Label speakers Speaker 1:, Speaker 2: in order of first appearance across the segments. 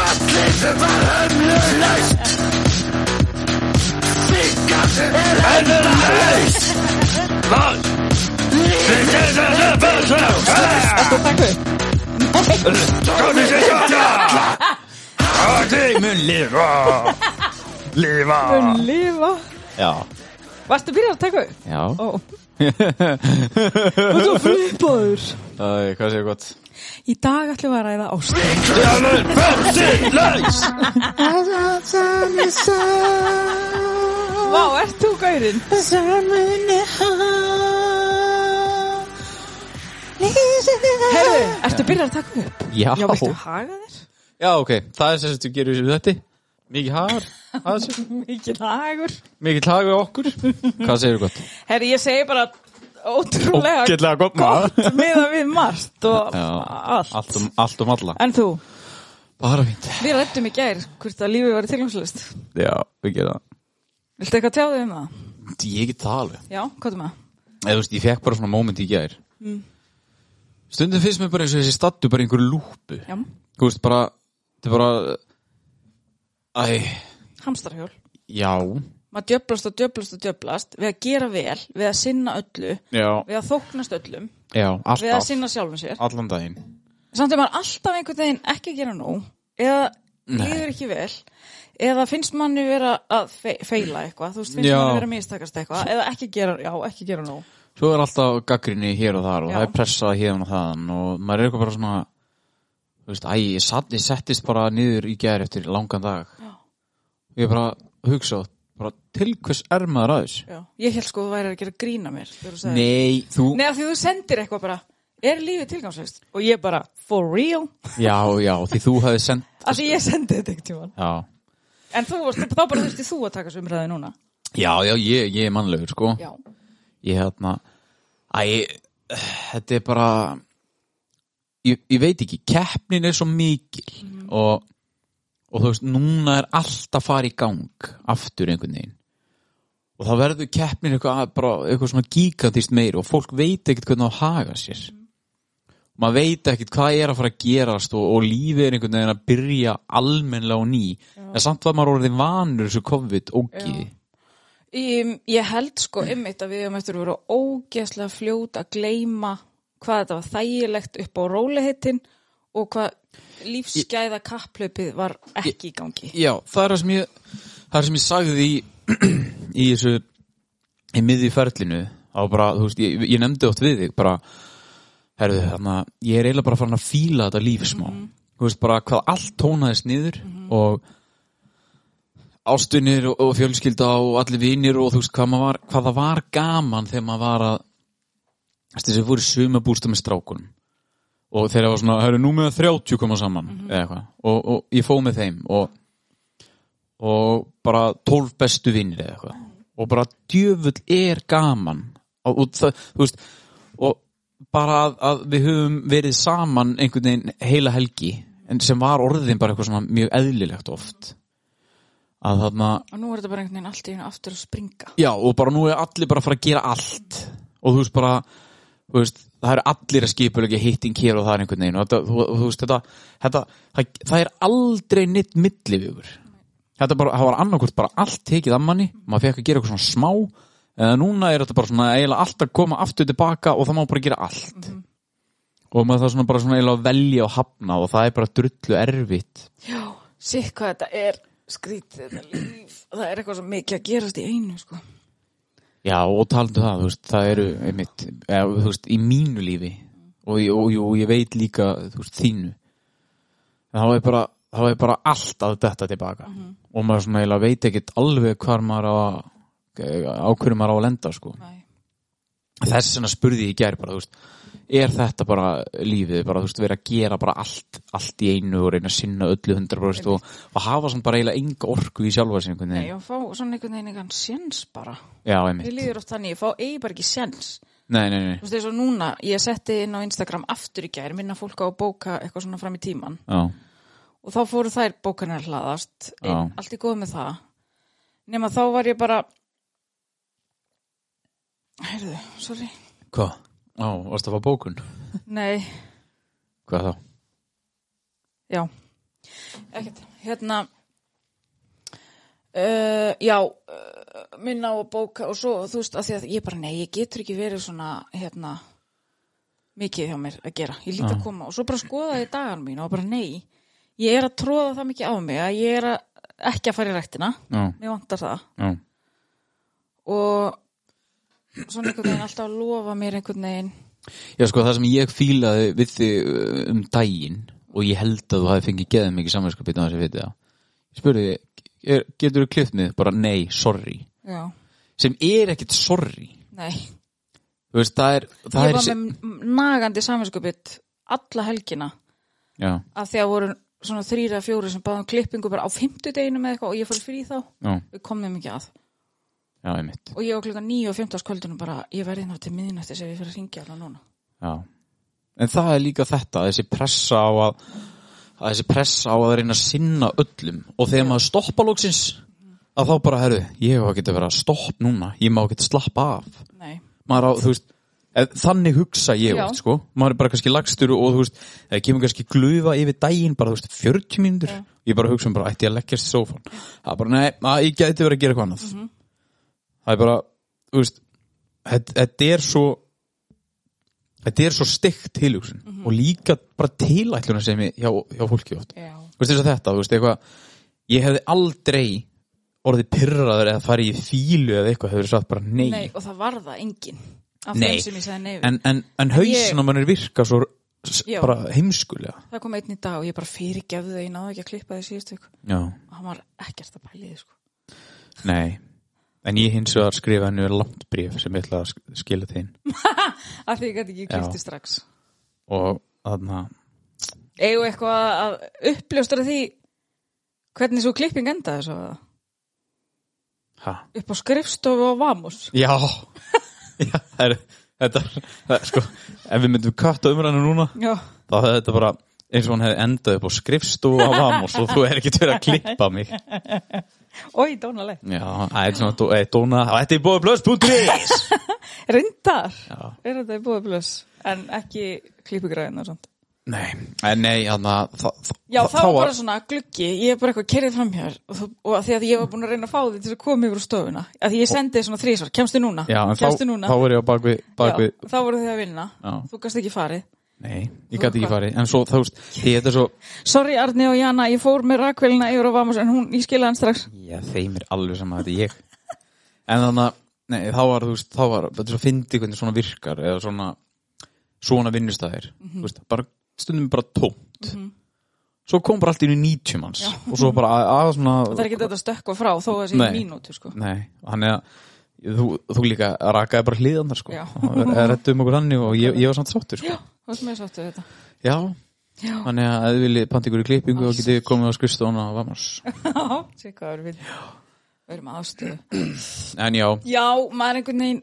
Speaker 1: Kanskje verden blir løst. Kanskje verden blir løst.
Speaker 2: Ertu að taka upp?
Speaker 1: Kan ikke gjøre det. Og de mun liva. Liva.
Speaker 2: Mun lifa
Speaker 3: Já,
Speaker 2: Varstu byrjað að taka upp?
Speaker 3: já
Speaker 2: Ó Þú flipaður
Speaker 3: Æ, Hvað séu gott?
Speaker 2: Í dag ætlum við að ræða ást
Speaker 1: Stjálfur bensín laus.
Speaker 2: Vá, ert þú gaurinn? Herðu, ertu byrjað að taka upp?
Speaker 3: Já.
Speaker 2: Já, viltu haga þér?
Speaker 3: Já, ok, það er sem sagt við gerum þessu þetta Mikið hagar, hagar sér.
Speaker 2: Mikið hagur
Speaker 3: mikið hagar okkur Hvað segir gott?
Speaker 2: Herri, ég segi bara ótrúlega
Speaker 3: Ógeðlega gott maður.
Speaker 2: gott Meða við margt og
Speaker 3: Já,
Speaker 2: allt.
Speaker 3: allt um, allt um alla
Speaker 2: En þú,
Speaker 3: Bara fínt
Speaker 2: við rættum í gær hvort að lífið var tilgangslust
Speaker 3: Já, við gerum það
Speaker 2: Viltu eitthvað tjá þig um það?
Speaker 3: Ég get það alveg
Speaker 2: Já, hvað er maður?
Speaker 3: Eða, þú veist, Ég fekk bara svona moment í gær
Speaker 2: Mm.
Speaker 3: Stundum finnst mér bara eins og þessi stattu bara í einhverju lúpu
Speaker 2: Já,
Speaker 3: Þú veist, bara Þetta er bara Æ,
Speaker 2: hamstarhjól
Speaker 3: já
Speaker 2: Maður djöblast og djöblast og djöblast Við að gera vel, við að sinna öllu
Speaker 3: Já,
Speaker 2: Við að þóknast öllum
Speaker 3: já,
Speaker 2: Við að
Speaker 3: alltaf
Speaker 2: sinna sjálfum sér
Speaker 3: Allan daginn
Speaker 2: Samt er maður alltaf einhvern veginn ekki að gera nóg Eða líður ekki vel Eða finnst manni vera að fe feila eitthvað Þú veist, finnst
Speaker 3: Já.
Speaker 2: manni vera að mistakast eitthvað Eða ekki gera, já, ekki gera nóg
Speaker 3: Svo er alltaf gaggrinni hér og þar og
Speaker 2: Já.
Speaker 3: það er pressað hérna og þaðan og maður er eitthvað bara svona þú veist, æ, ég, satt, ég settist bara niður í gær eftir langan dag Já. ég er bara að hugsa bara, til hvers er maður að þessu?
Speaker 2: já. Ég held sko þú væri að gera grína mér þegar þú sagðir-
Speaker 3: Nei, þú
Speaker 2: Nei, af því þú sendir eitthvað bara Er lífið tilgangslust? Og ég bara, for real?
Speaker 3: Já, já, því þú hefði sendt
Speaker 2: Af því ég sendi þetta ekkert tíma
Speaker 3: Já,
Speaker 2: En þú, varst- þá bara þurfti þú að taka svo umræði núna
Speaker 3: já, já ég, ég er mannlegur sko
Speaker 2: Já,
Speaker 3: ég hérna æ, þetta er bara ég, ég veit ekki, keppnin er svo mikil og, og þú veist, núna er allt að fara í gang aftur einhvern veginn og það verður keppnin eitthvað, að- bara, eitthvað svona gigantist meir og fólk veit ekkert hvernig það haga sér maður veit ekkert hvað er að fara að gerast og, og lífið er einhvern veginn að byrja almennlega og ný en samt var maður orðið vanur þessu COVID og
Speaker 2: Já. Ég, ég held sko ymmit að við höfum eftir að vera ógeðslega fljót að gleyma hvað þetta var þægilegt upp á róliheitin og hvað lífsgæða kapplöpið var ekki í gangi.
Speaker 3: Já, það er það sem ég það er sem ég sagði í í þessu í miðju ferlinu á bara, þú veist, ég, ég nefndi oft við þig bara, herðu, þannig að ég er eiginlega bara farin að fíla þetta líf smá þú veist, bara hvað allt tónaðist niður og ástunir og, og fjölskylda og allir vinir og þú veist, hvað, maður var, hvað það var gaman þegar maður var að þú veist, þessi fóru sumabústa með strákunum og þegar það var svona, herru, nú með 30 koma saman eða eitthvað, og, og ég fóð með þeim og og bara 12 bestu vinnir eða eitthvað og bara djöfull er gaman og, og það, þú veist og bara að, að við höfum verið saman einhvern veginn heila helgi en sem var orðin bara eitthvað svona mjög eðlilegt oft að þarna
Speaker 2: Og nú er þetta bara einhvern veginn allt í hennu aftur að springa.
Speaker 3: Já, og bara nú er allir bara að fara að gera allt og þú veist bara þú veist, það eru allir að skipulegja hitting hér og það er einhvern veginn og þetta, þú, þú veist, þetta, þetta það, það er aldrei neitt millivegur þetta bara, það var annarkvort bara allt tekið að manni, maður fekk að gera eitthvað svona smá eða núna er þetta bara svona eiginlega allt að koma aftur tilbaka og það má bara gera allt og maður það svona bara svona eiginlega að velja og hafna og það er bara drullu erfitt
Speaker 2: Já, sikk hvað þetta er skrítið þetta líf. Það er eitthvað sem mikið að gerast í einu, sko.
Speaker 3: Já, og talandu það, þú veist, það eru einmitt, eða, þú veist, í mínu lífi og, ég- og, og, og ég veit líka, þú veist, þínu en þá er bara, þá er bara allt að detta tilbaka
Speaker 2: Mhm.
Speaker 3: og maður svona eiginlega veit ekkit alveg hvar maður á að á hverju maður á að lenda, sko
Speaker 2: Nei.
Speaker 3: þess vegna spurði ég í gær bara, þú veist er þetta bara lífið, bara, þú veist, vera að gera bara allt, allt í einu og reyna að sinna öllu 100% og, og hafa svona bara eiginlega enga orku í sjálfa sig einhvern
Speaker 2: Nei,
Speaker 3: veginn,
Speaker 2: og fá svona einhvern veginn einhvern séns bara.
Speaker 3: já,
Speaker 2: Við
Speaker 3: einmitt
Speaker 2: líður oft þannig, ég fá eigi bara ekki séns.
Speaker 3: Nei, nei, nei,
Speaker 2: Þú veist, eins og núna, ég setti inn á Instagram aftur í gær, minna fólk á að bóka eitthvað svona fram í tíman.
Speaker 3: já,
Speaker 2: og þá fóru þær bókarnar hlaðast
Speaker 3: Já.
Speaker 2: inn, allt í góð með það nema þá var ég bara heyrðu, sorry
Speaker 3: Hvað? Á, varst það að fá bókun?
Speaker 2: nei,
Speaker 3: Hvað þá?
Speaker 2: já, Ekkert, hérna uh, Já uh, minna á að bóka og svo þú veist að því að ég bara nei, ég getur ekki verið svona hérna mikið hjá mér að gera, ég líti að koma og svo bara skoða ég dagan mín og bara nei ég er að tróða það mikið á mig að ég er að, ekki að fara í ræktina
Speaker 3: já,
Speaker 2: mér vantar það
Speaker 3: já,
Speaker 2: og svona einhvern veginn alltaf að lofa mér einhvern veginn
Speaker 3: já sko það sem ég fílaði við þig uh, um daginn og ég held að þú hafi fengið geðið mikið samverðskapið á þessi vitið það ég spurði, þig, er, getur þú klift mig? bara nei, sorry
Speaker 2: já,
Speaker 3: sem er ekkit sorry
Speaker 2: nei
Speaker 3: Þú veist, það er, það
Speaker 2: ég
Speaker 3: er
Speaker 2: var með nagandi saminskupið alla helgina
Speaker 3: já,
Speaker 2: af því að voru svona þrýra fjóri sem báðum klippingu bara á fimmtudeginu með eitthvað og ég fór í frí þá
Speaker 3: já,
Speaker 2: við komum ekki að
Speaker 3: já, einmitt
Speaker 2: og ég var klukka 9 og 15 kvöldinu bara ég verði hérna til miðinætti sem ég fyrir að ringja alveg núna
Speaker 3: já. en það er líka þetta þessi pressa á að, að þessi pressa á að reyna að sinna öllum og þegar maður stoppa lóksins að þá bara, herru, ég á að geta verið að stopp núna, ég má geta slappa af
Speaker 2: nei,
Speaker 3: maður á, þú veist eð, þannig hugsa ég
Speaker 2: Já.
Speaker 3: oft, sko maður er bara kannski lagstur og þú veist það kemur kannski glufa yfir daginn, bara þú veist 40 mínútur,
Speaker 2: Já.
Speaker 3: ég bara hugsa um bara ætti ég að leggjast í sófan, það er bara nei, að, ég gæti verið að gera eitthvað annað
Speaker 2: Mhm.
Speaker 3: það er bara, þú veist þetta- þetta er svo þetta er svo steikt tilhugsun og líka bara tilætluna sem ég hjá, hjá fólki oft
Speaker 2: Mhm. já,
Speaker 3: þú veist þess að þetta, þú veist eitthvað ég hefði aldrei orðið pyrraður eða farið í fílu eða eitthvað hefur sagt bara nei,
Speaker 2: nei og það var það engin af
Speaker 3: Nei.
Speaker 2: þeim sem ég sagði nei við.
Speaker 3: en, en, en hausin
Speaker 2: ég-
Speaker 3: á mannir virka svo s-
Speaker 2: Já.
Speaker 3: bara heimskulega
Speaker 2: það kom einn í dag og ég bara fyrirgefði það ég náðu ekki að klippa því síðustu viku.
Speaker 3: já,
Speaker 2: og hann var ekkert að pæli því sko.
Speaker 3: nei en ég hins vegar skrifa hennu langt bréf sem ég ætla að sk- skila þín
Speaker 2: af því ég gæti ekki
Speaker 3: Já.
Speaker 2: klipti strax
Speaker 3: og þarna,
Speaker 2: eigum við eitthvað að uppljóstra því hvernig svo klipping endaði svo eða?
Speaker 3: hæ
Speaker 2: upp á skrifstofu og vamus
Speaker 3: já, já það er, þetta það er sko ef við myndum katta umræðinu núna
Speaker 2: já,
Speaker 3: þá hefði þetta bara eins og hann hefði endað upp á skrifstofu á Vamos og þú er ekkert verið að klippa mig
Speaker 2: oi, dónalegt
Speaker 3: Já, það er svona dó- eh, dóna Þetta er bóði blöðs.is
Speaker 2: reyndar,
Speaker 3: Já.
Speaker 2: er þetta í búið blöss en ekki klippugræðin og svona
Speaker 3: Nei, eh, nei, þannig að þa- þa-
Speaker 2: já,
Speaker 3: þa-
Speaker 2: það var
Speaker 3: þá
Speaker 2: bara svona gluggi ég er bara eitthvað kerið framhjör og, þú- og að því að ég var búin að reyna að fá því til að koma yfir úr stofuna að því ég sendi svona þrísvar, kemstu núna
Speaker 3: Já, en
Speaker 2: kemstu
Speaker 3: þá,
Speaker 2: núna
Speaker 3: þá er ég á bakvið bak við-
Speaker 2: já, þá voru þið að vinna,
Speaker 3: Já.
Speaker 2: þú gast ekki farið
Speaker 3: Nei, ég
Speaker 2: Þú
Speaker 3: gæti ekki
Speaker 2: hvað?
Speaker 3: farið En svo, þú veist, því þetta er svo
Speaker 2: sorry Arni og Jana, ég fór með rakvelina yfir á vamus en hún, ég skilaði hann strax
Speaker 3: Já, þeim er alveg sama þetta er ég En þannig að, nei, þá var, þú veist, þá var Þetta er svo fyndi hvernig svona virkar Eða svona, svona vinnustæðir Þú veist, bara stundum bara tómt Svo kom bara allt í einu 90 manns Og svo bara að, að svona
Speaker 2: það er ekki þetta að stökkva frá þó að það sé
Speaker 3: Nei.
Speaker 2: í mínútu sko.
Speaker 3: Nei, hann er að þú, þú líka rakaði bara hliðan þar sko
Speaker 2: Já.
Speaker 3: Rættu um okkur hann og ég, ég var samt sáttur sko.
Speaker 2: það er mér sáttu þetta
Speaker 3: Já,
Speaker 2: Já.
Speaker 3: hann er að eða vilji panta ykkur í klippingu og getið komið á skrifstofuna og vamars
Speaker 2: sé hvað er við við erum ástöðu
Speaker 3: En já,
Speaker 2: já, maður er einhvern veginn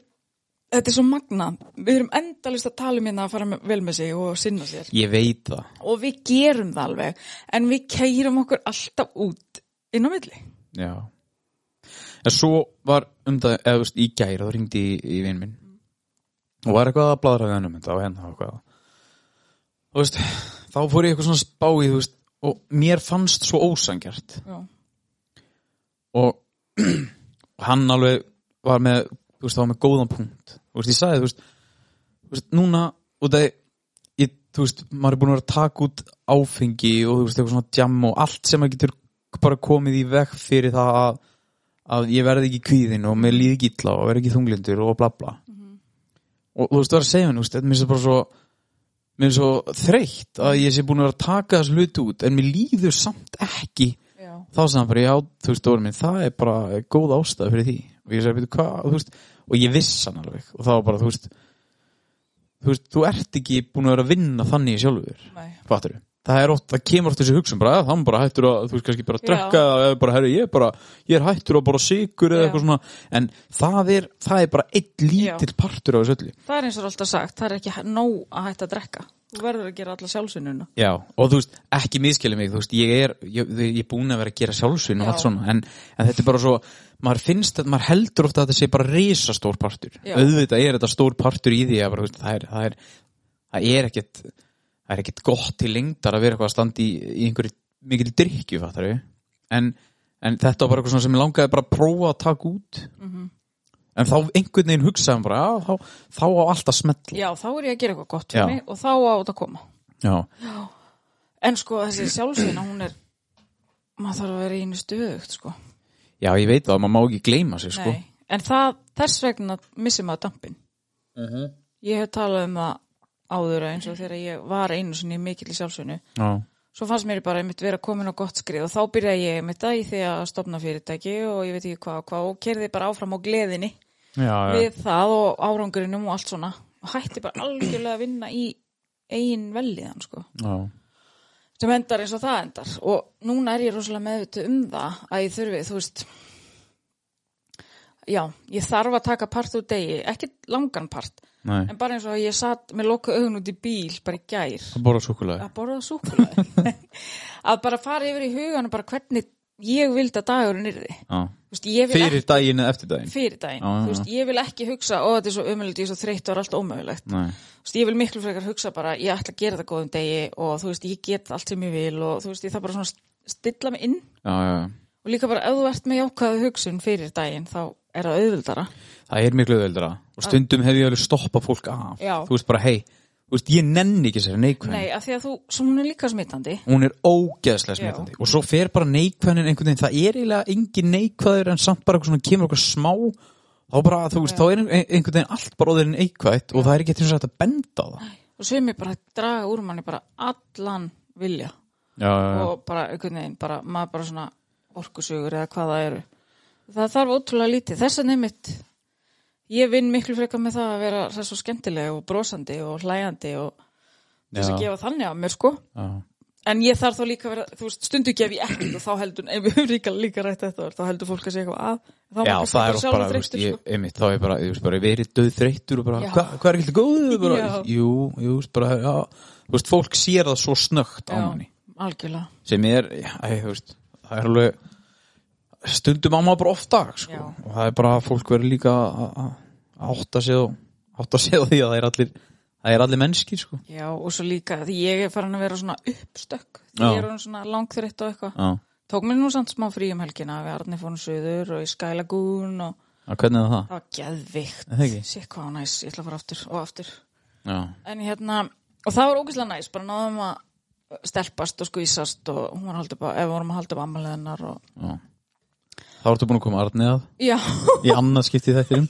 Speaker 2: þetta er svo magna, við erum endalist að tala um hérna að fara með, vel með sig og sinna sér
Speaker 3: ég veit það
Speaker 2: og við gerum það alveg en við keirum okkur alltaf út inn á milli
Speaker 3: Já En svo var um það, eða þú veist, í gæri þá ringdi í, í vinn minn og var eitthvað að bladra við hennum þetta og hérna og eitthvað Þú veist, þá fór ég eitthvað svona spáið, þú veist og mér fannst svo ósangjart
Speaker 2: já,
Speaker 3: og hann alveg var með, þú veist, það var með góðan punkt þú veist, ég sagði, þú veist, þú veist núna, og það ég, þú veist, maður er búin að vera að taka út áfengi og þú veist, eitthvað svona djam og allt sem maður getur bara komið í vekk fyrir það að, að ég verði ekki kvíðin og mér líði ekki illa og verði ekki þunglindur og bla bla og þú veist, það var að segja mér, þú veist, þetta minnst bara svo mér er svo þreytt að ég sé búin að vera að taka þessu hluti út en mér líður samt ekki
Speaker 2: já,
Speaker 3: þá sagði hann bara, já, þú veist, Dóri minn, það er bara góð ástæð fyrir því og ég sagði, veitu hvað, og þú veist, og ég viss hann alveg og það var bara, þú veist þú veist, þú ert ekki búin að vera að vinna þannig sjálfur,
Speaker 2: nei
Speaker 3: fattur við það er oft, það kemur oft þessi hugsun bara, að hann bara hættur að, þú veist, kannski bara að
Speaker 2: Já.
Speaker 3: drekka eða bara, herri, ég er bara, ég er hættur að bara sigur eða
Speaker 2: Já.
Speaker 3: eitthvað svona, en það er það er bara einn lítill partur á þessu öllu
Speaker 2: það er eins og er alltaf sagt, það er ekki hæ- nóg að hætta að drekka þú verður að gera alla sjálfsvinnuna
Speaker 3: Já, og þú veist, ekki miskeli mig, þú veist, ég er, ég, ég er búin að vera að gera sjálfsvinn og
Speaker 2: Já.
Speaker 3: allt svona, en, en þetta er bara svo, maður finnst að, maður heldur ofta að þetta sé bara risastór partur,
Speaker 2: Já.
Speaker 3: auðvitað er þetta stór partur í því að bara, þú veist, það er, það er, það er ekkit, það er ekkit gott til lengdar að vera eitthvað að standa í, í einhverju mikil drykju fattar við en, en þetta var bara eitthvað svona sem ég langaði bara að prófa að taka út
Speaker 2: Mhm.
Speaker 3: en þá einhvern veginn hugsaði hann bara "Já, þá, þá á allt að smetla
Speaker 2: Já, þá er ég að gera eitthvað gott fyrir
Speaker 3: Já.
Speaker 2: mig og þá á þetta að koma.
Speaker 3: já,
Speaker 2: En sko þessi sjálfsýna, hún er, maður þarf að vera í einu stöðugt, sko.
Speaker 3: já, ég veit það, maður má ekki gleyma sér sko.
Speaker 2: Nei, en það, þess vegna missir maður dampin.
Speaker 3: Mhm.
Speaker 2: Ég hef talað um það áður að eins og þegar ég var einu sinni mikil í sjálfsvinnu.
Speaker 3: já,
Speaker 2: Svo fannst mér bara einmitt vera komin á gott skrið og þá byrjaði ég einmitt að í því að stopna fyrirtæki og ég veit ekki hvað og hvað og kerði bara áfram á gleðinni
Speaker 3: já, já.
Speaker 2: við það og árangurinum og allt svona og hætti bara algjörlega að vinna í eigin velliðan sko
Speaker 3: já.
Speaker 2: sem endar eins og það endar og núna er ég rosalega meðvituð um það að ég þurfi, þú veist já, ég þarf að taka part úr degi, ekki langan part
Speaker 3: Nei.
Speaker 2: en bara eins og ég satt með loka augun út í bíl, bara í gær
Speaker 3: það borða súkulega
Speaker 2: að borða súkulega að bara fara yfir í hugan og bara hvernig ég vildi að dagurinn yrði Þú veist, ég vil
Speaker 3: fyrir daginn eða eftir
Speaker 2: ekki
Speaker 3: daginn
Speaker 2: fyrir daginn,
Speaker 3: Já, já,
Speaker 2: þú veist, ég vil ekki hugsa ó, þetta er svo umöðulegt, ég er svo þreytt og er allt ómöðulegt
Speaker 3: Nei.
Speaker 2: Þú veist, ég vil miklu frekar hugsa bara ég ætla að gera það góðum degi og þú veist, ég get allt sem ég vil og þú veist, ég þarf bara svona að stilla mig inn
Speaker 3: já, já, já.
Speaker 2: og líka bara ef þú ert með jákvæðu hugsun fyrir daginn þá er það auðvildara
Speaker 3: það er miklu öðuldra og stundum hef ég alveg stoppað fólk af
Speaker 2: Já.
Speaker 3: þú veist bara, hei, þú veist, ég nenni ekki sér neikvæðin
Speaker 2: Nei, af því að þú, svo hún er líka smittandi
Speaker 3: hún er ógeðslega
Speaker 2: Já.
Speaker 3: smitandi og svo fer bara neikvæðin einhvern veginn það er eiginlega engin neikvæður en samt bara eitthvað svona, kemur okkur smá þá bara, þú veist, þá er ein- einhvern veginn allt bara óður en neikvætt og það er ekki til þess að þetta benda á það
Speaker 2: og sumi bara draga úr manni bara allan vilja
Speaker 3: já, já,
Speaker 2: og bara einhvern veginn, bara, maður bara svona orkusugur eða hvað það eru það þarf ótrúlega lítið, þess að nefnitt ég vinn miklu frekar með það að vera það svo skemmtileg og brosandi og hlæjandi og þess að
Speaker 3: Já.
Speaker 2: gefa þannig af mér sko
Speaker 3: já.
Speaker 2: en ég þarf þá líka að vera, þú veist, stundu gef ég ekkert og þá heldur, ef við höfum líka, líka rætt þetta þá heldur fólk að segja eitthvað að þá
Speaker 3: Já,
Speaker 2: maður kannski
Speaker 3: það er oft
Speaker 2: sjálfur
Speaker 3: bara, þú veist,
Speaker 2: þreyttur, sko.
Speaker 3: ég, einmitt, þá er bara, þú veist, bara verið döð þreyttur og bara,
Speaker 2: Já.
Speaker 3: hva, hvað er ekki alltaf góðu? Bara,
Speaker 2: Já.
Speaker 3: jú, jú, veist, bara, já, þú veist, fólk sér það svo snögt á
Speaker 2: Já,
Speaker 3: manni,
Speaker 2: algjörlega
Speaker 3: sem er, já, æ, þú veist, það er alveg, stundum á maður bara oft dag, sko,
Speaker 2: Já.
Speaker 3: og það er bara að fólk verður líka að- að að átta sig á, átta sig á því að það er allir, það er allir mennskir, sko.
Speaker 2: já, og svo líka, því ég er farin að vera svona uppstökk, því
Speaker 3: Já.
Speaker 2: ég er orðin svona langþreytt og eitthvað
Speaker 3: Já,
Speaker 2: Tók mér nú samt smá frí um helgina við Arni fórum suður og í Skælagún og
Speaker 3: já, hvernig er
Speaker 2: það
Speaker 3: það?
Speaker 2: var geðvikt.
Speaker 3: Er það ekki?
Speaker 2: Sér hvað var næs, ég ætla að fara aftur og aftur.
Speaker 3: Já,
Speaker 2: En hérna, og það var ógeðslega næs, bara náðum að stelpast og skvísast og hún var haldið bara, ef við vorum að haldið bara ammaliðinnar og...
Speaker 3: já. Þá ertu búin að koma Arni að,
Speaker 2: Já,
Speaker 3: í annað skiptið þetta um.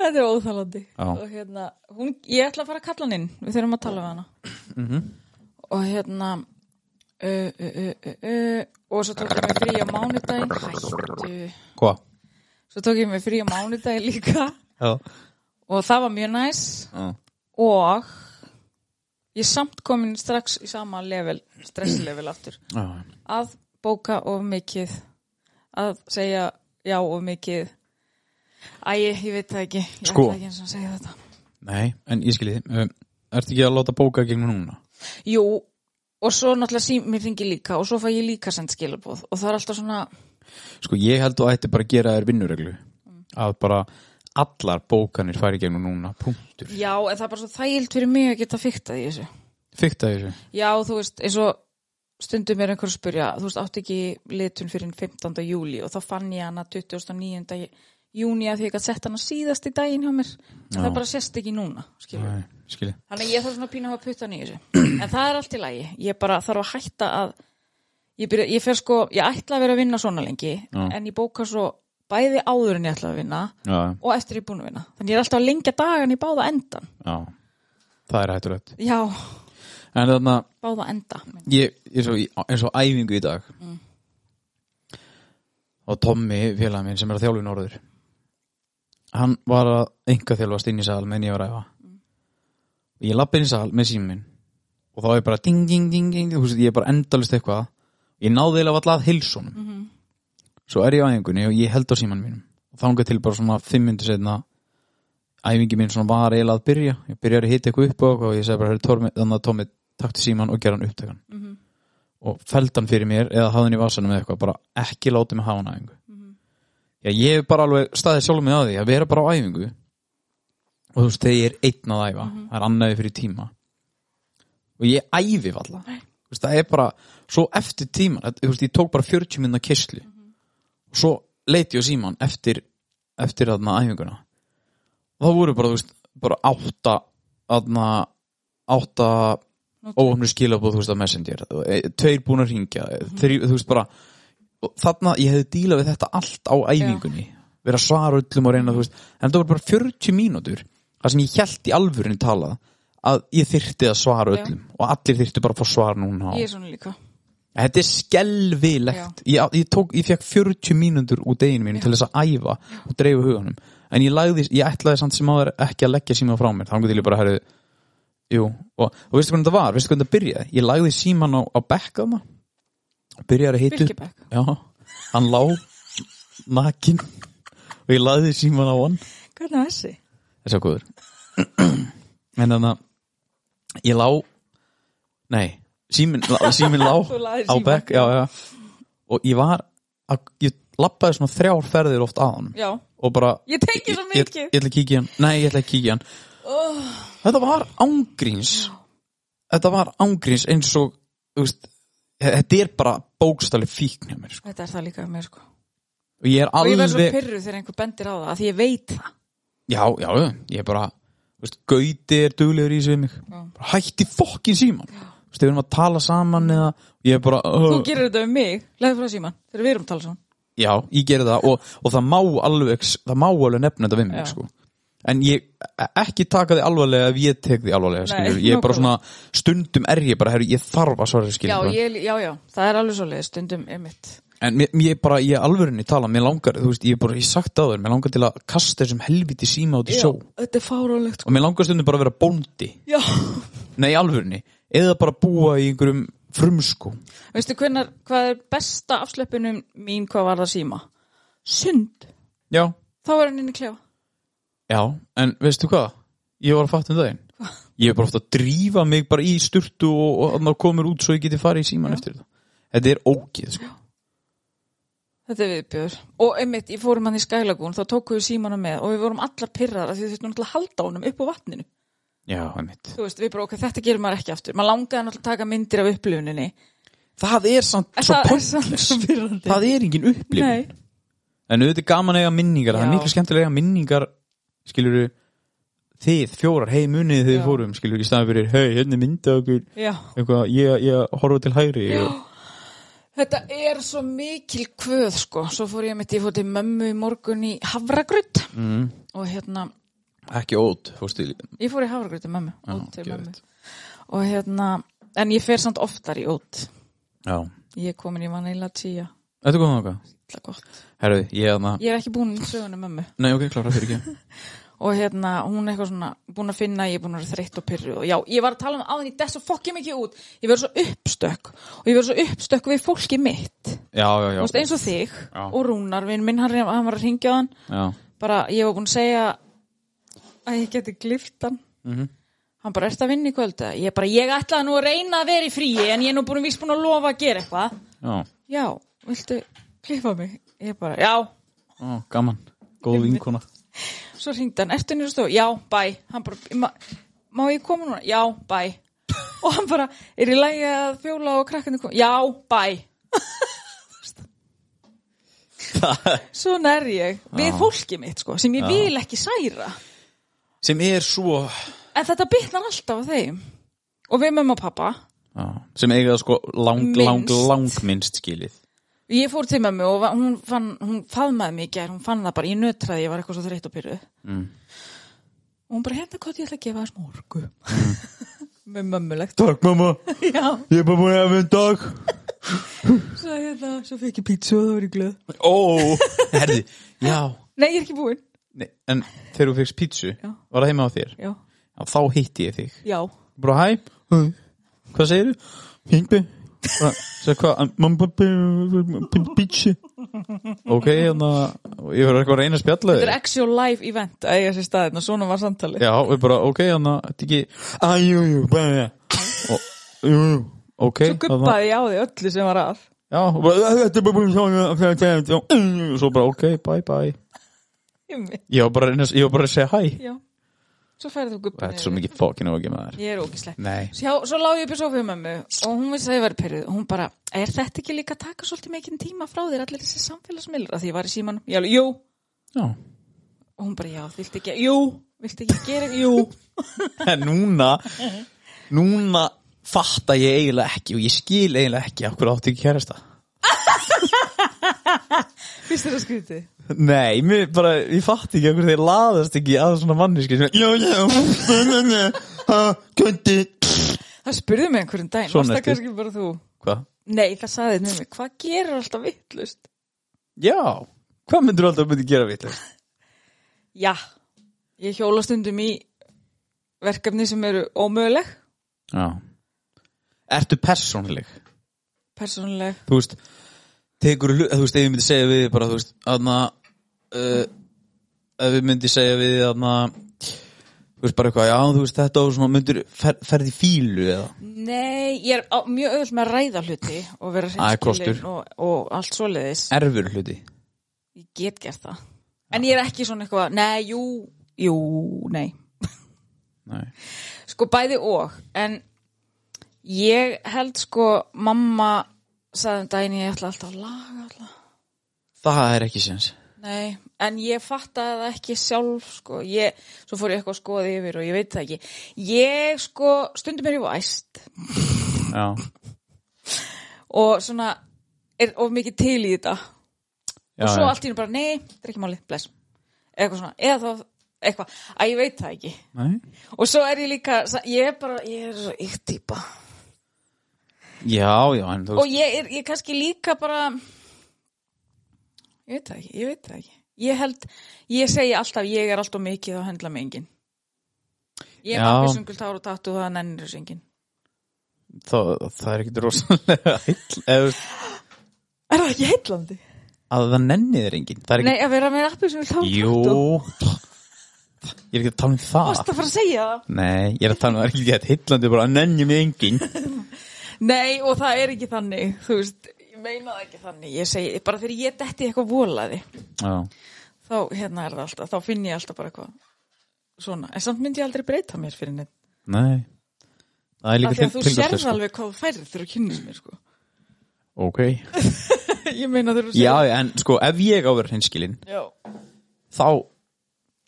Speaker 2: þetta er óþalandi.
Speaker 3: Já.
Speaker 2: Og hérna, hún, ég ætla að fara að kalla hann inn, við þurfum að tala við hana.
Speaker 3: Mhm.
Speaker 2: -hmm. Og hérna, uh, uh, uh, uh, uh, og svo tók ég mér frí á mánudaginn, hættu...
Speaker 3: Hva?
Speaker 2: Svo tók ég mig frí á mánudagi líka
Speaker 3: Já.
Speaker 2: og það var mjög næs
Speaker 3: Já.
Speaker 2: og ég er samt komin strax í sama level, stresslevel aftur
Speaker 3: Já,
Speaker 2: að bóka of mikið að segja já of mikið Æ, ég ég veit það ekki ég
Speaker 3: Sko.
Speaker 2: ætla ekki eins og að segja þetta
Speaker 3: Nei, en ég skilji, um, ertu ekki að láta bóka gegnum núna?
Speaker 2: Jú, og svo náttúrulega símir ringi líka og svo fæ ég líka send skilabóð og það er alltaf svona
Speaker 3: Sko, ég held að ætti bara að gera þér vinnureglu að bara allar bókanir færi gegnum núna, punktur
Speaker 2: já, en það er bara svo þægild fyrir mig að geta fiktað í þessu
Speaker 3: Fikta þessu
Speaker 2: Já, þú veist, eins og stundum er einhver að spurja, þú veist, átti ekki litun fyrir 15. júli og þá fann ég hana 29. júni að því ég gætt sett hana síðast í daginn hjá mér en það bara sést ekki núna, skilur
Speaker 3: Nei, skilji
Speaker 2: Þannig að ég þarf svona að pína að hafa puttan í þessu en það er allt í lagi, ég bara þarf að hætta að ég, byrja, ég fer sko ég ætla að vera að vinna svona lengi en ég bóka svo bæði áður en ég ætla að vinna
Speaker 3: Já,
Speaker 2: og eftir ég er búin að vinna þannig ég er alltaf að lengja dagan í báða endan
Speaker 3: já, það er hættulegt
Speaker 2: Já,
Speaker 3: En þarna,
Speaker 2: báða enda
Speaker 3: ég ég er svo, í- eins og æfingu í dag og Tommy, félag minn sem er að þjálfa í norður hann var að enga þjálfast inn í sal meðan ég var að æfa og ég lappi inn í sal með símum minn og þá er bara ding, ding, ding, ding þú veist, ég er bara endalist eitthvað ég náði eiginlega valla að hilsunum mm -hmm. svo er ég á æfingunni og ég held á símanum mínum og þangað til bara svona fimm minntu setna æfingi mín svona var eiginlega að byrja ég byrjar að hita eitthvað upp og, og ég segi bara "Heyrðu, Tormi- þannig að Tommy takti síman og gera hann upptakan og feld hann fyrir mér eða hafði hann í vasanum eða eitthvað bara ekki láti mig hafa hann á æfingu já, ég hef bara alveg staðið sjálfum mig að því að vera bara á æfingu og þú veist, þegar ég er einn að æfa það er annaði fyrir tíma og ég æfi valla Þú veist, það er bara, svo eftir tíman þetta- þú veist, ég tók bara 40 minna kyslu og svo leiti ég á síman eftir, eftir aðna æfinguna og það voru bara, þú veist bara átta aðna, átta óöfnu skilabóð, þú veist, að messenger e, tveir búin að ringja, mm þú veist, bara og þarna, ég hefði dílað við þetta allt á æfingunni, vera að svara öllum og reyna, þú veist, en þetta var bara 40 mínútur, það sem ég held í alvörinu talað, að ég þyrfti að svara
Speaker 2: Já.
Speaker 3: öllum og allir þyrfti bara að fá svar núna á.
Speaker 2: Ég er svona líka.
Speaker 3: Þetta er skelvilegt ég, ég, tók, ég fekk 40 mínútur úr deginu mínu til þess að æfa og dreifu huganum en ég, lagði, ég ætlaði samt sem áður ekki að leggja síma frá mér þannig til ég bara herri Jú, og, og veistu hvernig þetta var, veistu hvernig þetta byrjaði ég lagði síman á, á bekkaðna byrjaði að hitu
Speaker 2: Birkibekk.
Speaker 3: Já, hann lá nakin og ég lagði síman á hann
Speaker 2: Hvernig var þessi?
Speaker 3: Þessi á góður En þannig að Ég lá Nei, símin, símin lá
Speaker 2: Þú lagðir
Speaker 3: Á
Speaker 2: símann.
Speaker 3: bekk, já, já Og ég var að, Ég lappaði svona þrjár ferðir oft að hann
Speaker 2: Já.
Speaker 3: Og bara
Speaker 2: Ég tengi svo
Speaker 3: ég,
Speaker 2: mikið. Oh.
Speaker 3: ég, ætla að kíkja í hann Nei, ég ætla að kíkja í hann Þetta var ángríns Þetta var ángríns eins og þú veist, Þetta er bara bókstali fíkn hjá mér sko.
Speaker 2: Þetta er það líka með mér sko.
Speaker 3: Og ég er
Speaker 2: Og ég verð svo
Speaker 3: alveg
Speaker 2: pyrru þegar einhver bendir á það, af því ég veit það.
Speaker 3: Já, já, já, ég er bara þú veist, Gauti er duglegur í þessu við mig bara, Hætti fokkin síman Þú veist, Við erum að tala saman eða Ég er bara
Speaker 2: Þú
Speaker 3: uh,
Speaker 2: gerir þetta um mig, leiði frá síman, þegar við erum talað svona.
Speaker 3: Já, ég gerir það og, og það má alveg Það má alveg nefna þetta við
Speaker 2: Já.
Speaker 3: mig sko. En ég e, ekki taka því alvarlega Ef ég tek því alvarlega
Speaker 2: Nei,
Speaker 3: skilur. Ég er bara svona
Speaker 2: nákvæmlega.
Speaker 3: Stundum er ég bara, herru, ég þarf að svara
Speaker 2: Já,
Speaker 3: þessu, skilur bara.
Speaker 2: ég, já, já, það er alveg svo leið, stundum er mitt.
Speaker 3: En mér, mér bara, ég alvörinni tala Mér langar, þú veist, ég er bara, ég hef sagt það áður Mér langar til að kasta þessum helviti síma út í
Speaker 2: Já,
Speaker 3: sjó
Speaker 2: þetta er fárálegt.
Speaker 3: Og mér langar stundum bara að vera bóndi
Speaker 2: Já,
Speaker 3: Nei, í alvörni Eða bara búa í einhverjum frumsku
Speaker 2: veistu hvernar, hvað er besta afslöpunum mín hvað var það síma? Sund,
Speaker 3: Já
Speaker 2: þá er hann inn í klefa.
Speaker 3: Já, en veistu hvað? Ég var að fatta um daginn Ég er bara ofta að drífa mig bara í sturtu og, og að maður komur út svo ég geti farið í síman eftir þetta Þetta er ógið, sko
Speaker 2: Þetta er viðbjör. Og einmitt, ég fórum hann í skælagún, þá tókum við símana með og við vorum allar pyrrar að því við þurftum náttúrulega að halda honum upp á vatninu.
Speaker 3: Já, einmitt
Speaker 2: Þú veist, við bara, ok, þetta gerir maður ekki aftur. Maður langaði náttúrulega að taka myndir af upplifuninni.
Speaker 3: Það er samt
Speaker 2: En
Speaker 3: svo
Speaker 2: það er
Speaker 3: pott
Speaker 2: samt svo pyrrandi.
Speaker 3: Það er engin upplifun
Speaker 2: Nei,
Speaker 3: En auðvitað er gaman að eiga minningar Það er
Speaker 2: Já.
Speaker 3: miklu skemmtilega að eiga minningar Skilur þið fjórar Hei munið þið
Speaker 2: Já.
Speaker 3: fórum, skilur í staðan fyrir Hei, hérna er mynda okkur
Speaker 2: já.
Speaker 3: Eitthvað, ég, ég horfa til hægri og...
Speaker 2: Þetta er svo mikil kvöð, sko. Svo fór ég mitt, ég fór til mömmu í morgun í Havragrut. Mm. Og hérna,
Speaker 3: Ekki ót, fórstu í-
Speaker 2: ég fór í Havragrut til mömmu.
Speaker 3: Já,
Speaker 2: út til mömmu.
Speaker 3: geðveikt.
Speaker 2: Og hérna, en ég fer samt oftar í út.
Speaker 3: Já,
Speaker 2: Ég er komin í vanilla tíja.
Speaker 3: Þetta komið okkar?
Speaker 2: Það gott.
Speaker 3: Herru, ég aðna
Speaker 2: Ég er ekki búin í söguna mömmu.
Speaker 3: Nei, ok, klára fyrir ekki
Speaker 2: og hérna, hún er eitthvað svona búin að finna, að ég er búin að vera þreytt og pyrru og já, ég var að tala um áðan, ég dess og fokki mikið út ég verður svo uppstökk og ég verður svo uppstökk við fólki mitt Þú
Speaker 3: Já, já, já
Speaker 2: veist, eins og þig
Speaker 3: Já.
Speaker 2: og Rúnar, vinn minn, hann, hann var að ringja hann
Speaker 3: Já,
Speaker 2: bara, ég var búin að segja að ég geti glift hann
Speaker 3: Mhm.
Speaker 2: hann bara, ert að vinna í kvölda ég bara, ég ætlaði nú að reyna að vera í fríi en ég er nú búin víst búin að lofa að gera eitthvað
Speaker 3: já,
Speaker 2: já, viltu klippa mig ég bara, já,
Speaker 3: já, gaman Góð vinkona
Speaker 2: Svo hringdi hann, ertu nýra stofu? Já, bæ. Hann bara, ma má ég koma núna? Já, bæ. og hann bara, er í lægi að fjóla og krakkandi koma? Já, bæ. Svona er ég. Við fólkið mitt, sko, sem ég vil ekki særa.
Speaker 3: Sem er svo
Speaker 2: En þetta bitnar alltaf á þeim. Og við mömmu og pappa.
Speaker 3: já. Sem eiga það sko lang, lang,
Speaker 2: Minnst.
Speaker 3: lang minnst skilið
Speaker 2: Ég fór til mömmu og va- hún, fann, hún faðmaði mig í gær, hún fann það bara, ég nötraði, ég var eitthvað svo þreytt og pyrruð. Mm. Og hún bara, hérna hvað ég ætla að gefa þess morgu. Með mömmulegt.
Speaker 3: Takk mamma,
Speaker 2: Já.
Speaker 3: ég er bara búin að hafa en dag
Speaker 2: Svo, hérna, svo fekk ég pítsu og það var ég glöð.
Speaker 3: Ó, herði, já
Speaker 2: Nei, ég er ekki búinn.
Speaker 3: Nei, En þegar þú fegst pítsu,
Speaker 2: Já.
Speaker 3: var það heima á þér
Speaker 2: Já.
Speaker 3: Já, þá hitti ég þig
Speaker 2: Já.
Speaker 3: Bara hæ, hæ. hvað segirðu? Hengbi Sæði hvað, mamma pí- pítsu Ok, þannig að ég verður eitthvað að reyna að spjalla
Speaker 2: Þetta
Speaker 3: þig
Speaker 2: er actual live event að eiga sér staðin og svona var samtalið.
Speaker 3: Já, við bara, ok, þannig að þetta ekki Æjújú, bæja Og, jú, jú, ok hérna.
Speaker 2: Svo guppaði ég á því öllu sem var að.
Speaker 3: Já, og bara, þetta er bara búin sjá Svo bara, ok, bye, bye
Speaker 2: Einmitt.
Speaker 3: Ég var bara, að reyna að- ég var bara að segja hæ
Speaker 2: Já. svo færðu þú gubbi
Speaker 3: Þetta er svo mikið fokkin og ekki með þær
Speaker 2: Ég er ógislega
Speaker 3: Nei
Speaker 2: Já, svo lág ég upp í sofið með mig og hún vissi að ég væri pyrruð og hún bara, er þetta ekki líka að taka svolítið mikinn tíma frá þér allir þessi samfélagsmiðlar að því ég var í símanum? Ég alveg, jú,
Speaker 3: Já
Speaker 2: og hún bara, já, viltu ekki, jú, viltu ekki gera, jú
Speaker 3: En núna Núna fatta ég eiginlega ekki og ég skil eiginlega ekki okkur áttu ekki kærasta
Speaker 2: Fyrst þér að skrýti?
Speaker 3: Nei, mér bara, ég fatt ekki okkur þeir laðast ekki að svona manniski sem er, Já, já, ha, kundi
Speaker 2: Það spurði mig einhverjum daginn,
Speaker 3: Svona
Speaker 2: varst það
Speaker 3: ertu.
Speaker 2: kannski bara þú?
Speaker 3: Hvað?
Speaker 2: Nei, það saði þið með mig, hvað gerir alltaf vittlust?
Speaker 3: Já, hvað myndir þú alltaf myndi gera við
Speaker 2: Já, ég hjóla stundum í verkefni sem eru ómöguleg,
Speaker 3: Já Ertu persónleg?
Speaker 2: persónuleg
Speaker 3: Þú veist, tekur, þú veist, ef ég myndi segja við þig bara, þú veist, aðna uh, ef ég myndi segja við þig aðna þú veist, bara eitthvað, já, þú veist, þetta og svona myndir fer, ferði fílu eða
Speaker 2: Nei, ég er á, mjög auðvitað með að ræða hluti og vera
Speaker 3: Það er
Speaker 2: hreinskilin
Speaker 3: kostur.
Speaker 2: og, og allt svoleiðis.
Speaker 3: erfur hluti
Speaker 2: Ég get gert það. En ég er ekki svona eitthvað, nei, jú, jú, nei.
Speaker 3: Nei.
Speaker 2: Sko bæði og, en ég held sko, mamma sagði um daginn ég ætla alltaf að laga alltaf.
Speaker 3: Það er ekki séns
Speaker 2: Nei, en ég fattaði það ekki sjálf, sko, ég, svo fór ég eitthvað að skoða yfir og ég veit það ekki. Ég, sko, stundum er ég væst
Speaker 3: Já,
Speaker 2: og svona, er of mikið til í þetta.
Speaker 3: já,
Speaker 2: og svo
Speaker 3: já.
Speaker 2: allt í hennu bara, nei, þetta er ekki málið, bless eitthvað svona, eða þá eitthvað, að ég veit það ekki
Speaker 3: Nei.
Speaker 2: og svo er ég líka, ég er bara ég er svo ykk típa
Speaker 3: já, já, en þú
Speaker 2: og
Speaker 3: veist
Speaker 2: ég er, ég er kannski líka bara ég veit það ekki, ég veit það ekki ég held, ég segi alltaf ég er alltaf mikið og hendla mig engin ég er
Speaker 3: Já.
Speaker 2: bara pissungul tár og tattu og það nennir þessu engin
Speaker 3: það, það er ekkit rosalega heill eða, þú veist,
Speaker 2: er það ekki heitlandi?
Speaker 3: að það nenni þér enginn Það er
Speaker 2: nei,
Speaker 3: ekki,
Speaker 2: að vera með appelsungul tár og
Speaker 3: jú
Speaker 2: tattu
Speaker 3: Ég er ekki að tala um það
Speaker 2: varst að fara að segja það?
Speaker 3: Nei, ég er að tala um það er ekki að heitlandi bara að nenni mig enginn
Speaker 2: Nei, og það er ekki þannig, þú veist, ég meina það ekki þannig, ég segi, bara þegar ég detti í eitthvað volaði,
Speaker 3: Já
Speaker 2: þá hérna er það alltaf, þá finn ég alltaf bara eitthvað svona, en samt myndi ég aldrei breyta mér fyrir neitt,
Speaker 3: Nei Það er
Speaker 2: af
Speaker 3: líka
Speaker 2: því að
Speaker 3: til-
Speaker 2: þú
Speaker 3: tilgangslaust,
Speaker 2: sérð
Speaker 3: sko.
Speaker 2: alveg hvað þú færið þegar þú kynnist mér, sko.
Speaker 3: Ok
Speaker 2: Ég meina þegar þú
Speaker 3: Já, en sko, ef ég á verið hinskilin
Speaker 2: Já,
Speaker 3: þá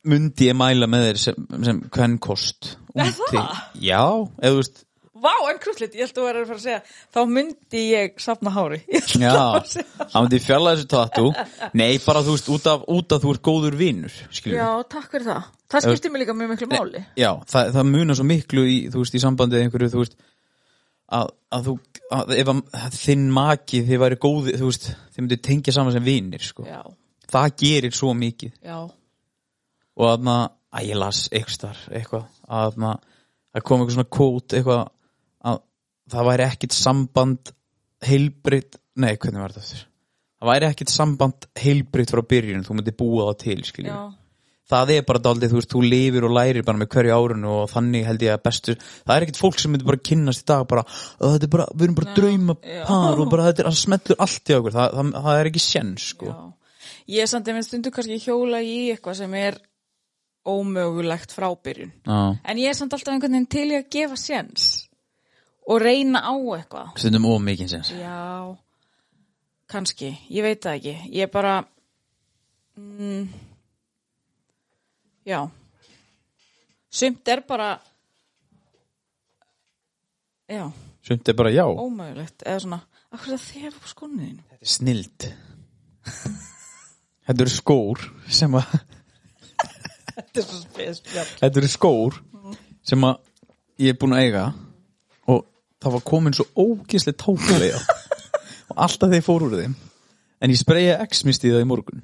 Speaker 3: myndi ég mæla með þér sem, sem kvennkost
Speaker 2: Er
Speaker 3: Úti.
Speaker 2: það?
Speaker 3: Já, eða þú veist
Speaker 2: vá, en krullit, ég held að þú verður að fara að segja, þá myndi ég safna hári, ég held að fara
Speaker 3: Já,
Speaker 2: að segja.
Speaker 3: það myndi ég fjalla þessu tattu Nei, bara þú veist, út af, út af þú er góður vinnur
Speaker 2: Já,
Speaker 3: Skiljum
Speaker 2: takk fyrir það, það skiptir mig líka mjög miklu máli.
Speaker 3: Já, það, það munar svo miklu í, þú veist, í sambandi eða einhverju, þú veist að, að þú, að, ef að þinn maki þið væri góði, þú veist þið myndi tengja saman sem vinnir, sko
Speaker 2: Já,
Speaker 3: Það gerir svo mikið
Speaker 2: já,
Speaker 3: og aðna, að ég las eitthvað starf, eitthvað, aðna það kom eitthvað svona kót, eitthvað að það væri ekkit samband heilbreytt, nei, hvernig var þetta aftur? það væri ekkit samband heilbreytt frá byrjun, þú myndir búa það til
Speaker 2: já,
Speaker 3: skiljum, það er bara daldið þú veist, þú lifir og lærir bara með hverju árun og þannig held ég að bestu, það er ekkit fólk sem myndir bara kynnast í dag, bara, "Ó, þetta er bara við erum bara drauma par og bara þetta er að smetlur allt í okkur, það, það, það er ekki sén sko,
Speaker 2: já. Ég er samt einhvern stundu kannski hjóla í eitthvað sem er ómögulegt frá byrjun.
Speaker 3: Já.
Speaker 2: En ég er samt alltaf einhvern veginn til í að gefa séns og reyna á eitthvað.
Speaker 3: stundum of mikið sén
Speaker 2: Já, kannski, ég veit það ekki. Ég er bara, mm, já, sumt er bara, já,
Speaker 3: sumt er bara já,
Speaker 2: ómögulegt. Eða svona, akkur það þegar upp skonuðinu?
Speaker 3: Þetta er snild Þetta eru skór sem að
Speaker 2: Þetta er svo spes, já.
Speaker 3: Þetta eru skór sem að ég er búin að eiga og það var komin svo ógislega tákulega og alltaf þeir fór úr þeim en ég spreja X-mist í það í morgun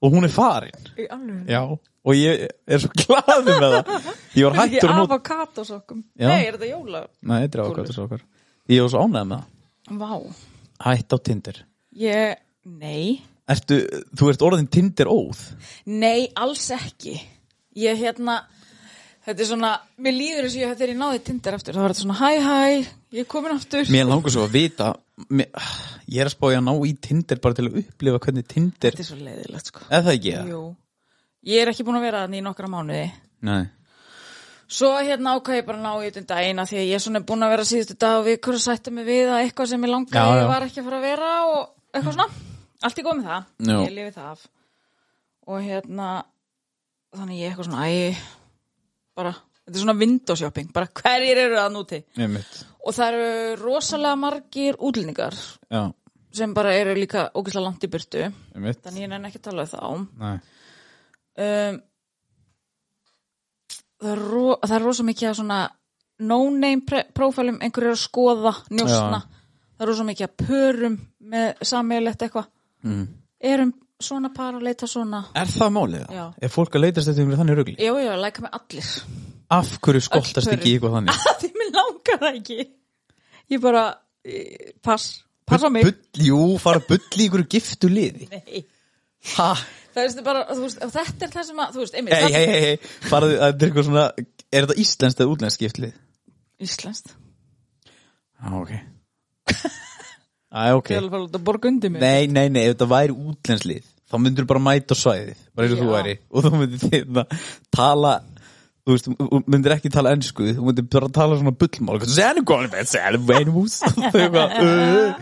Speaker 3: og hún er farin
Speaker 2: Í alveg.
Speaker 3: Já og ég er svo glaði með það Ég var
Speaker 2: Þetta
Speaker 3: hættur
Speaker 2: er
Speaker 3: að nota
Speaker 2: avokadosokkum.
Speaker 3: Já.
Speaker 2: Nei, er þetta jóla?
Speaker 3: Nei, þetta er ákvæmt svo okkar Ég var svo ánægð með það
Speaker 2: Vá.
Speaker 3: Hætt á Tinder
Speaker 2: Ég, nei.
Speaker 3: Ertu, þú ert orðin Tinder óð
Speaker 2: Nei, alls ekki. Ég hérna, þetta er svona, mér líður þess að ég þegar ég náði Tinder aftur, þá var þetta svona hæ hæ, ég er komin aftur.
Speaker 3: Mér langar svo að vita mér, Ég er að spá ég að ná í Tinder bara til að upplifa hvernig Tinder
Speaker 2: Þetta er svo leiðilegt sko.
Speaker 3: Er það ekki það?
Speaker 2: Jú, ég er ekki búin að vera þannig í nokkra mánuði
Speaker 3: Nei
Speaker 2: Svo hérna ákvað ég bara að ná í þetta eina því að ég er svona búin að vera síðustu dag og við hverju sætti mig við að eitthvað sem ég langaði
Speaker 3: Já, já.
Speaker 2: var ekki að fara að vera og eitthvað svona. Allt í góð með það.
Speaker 3: Já.
Speaker 2: Ég lifi það af. Og hérna, þannig ég eitthvað svona, æ, bara, þetta er svona window shopping, bara hverjir eru það núti?
Speaker 3: einmitt
Speaker 2: Og það eru rosalega margir útlendingar
Speaker 3: já,
Speaker 2: sem bara eru líka ógeðslega langt í burtu.
Speaker 3: einmitt
Speaker 2: Þannig ég nenni ekki að tala um þá.
Speaker 3: Nei.
Speaker 2: um, það, er ro, það er rosa mikið að svona no-name pre- prófælum einhverju að skoða, njósna það er rosa mikið að pörum með sammeilegt eitthvað
Speaker 3: Mm.
Speaker 2: erum svona par að leita svona
Speaker 3: er það málið?
Speaker 2: Já.
Speaker 3: er fólk að leitast eftir einhverju þannig rugli?
Speaker 2: já, já, læka með allir
Speaker 3: af hverju skoltast
Speaker 2: Öll
Speaker 3: ekki í eitthvað þannig?
Speaker 2: því mér langar það ekki ég bara, eh, pass pass á mig
Speaker 3: Bull, jú, fara að bulli í einhverju giftu liði
Speaker 2: Nei.
Speaker 3: ha,
Speaker 2: það veist bara, þú veist, og þetta er það sem að þú veist, einmitt,
Speaker 3: hei,
Speaker 2: það-
Speaker 3: hei, hei, hei farðu, þetta er eitthvað svona er þetta íslenskt eða útlenskt giftlið?
Speaker 2: íslenskt,
Speaker 3: já, ok já, ok
Speaker 2: ég er alveg bara út að borga undir mig
Speaker 3: Nei, nei, nei, ef þetta væri útlenslið þá myndur bara mæta á svæðið bara eins og
Speaker 2: Já.
Speaker 3: þú væri og þú myndir þérna tala þú veist, þú myndir ekki tala ennsku þú myndir bara tala svona bullmál Zenugónum, Zenugónus og þau eitthvað, "Uh."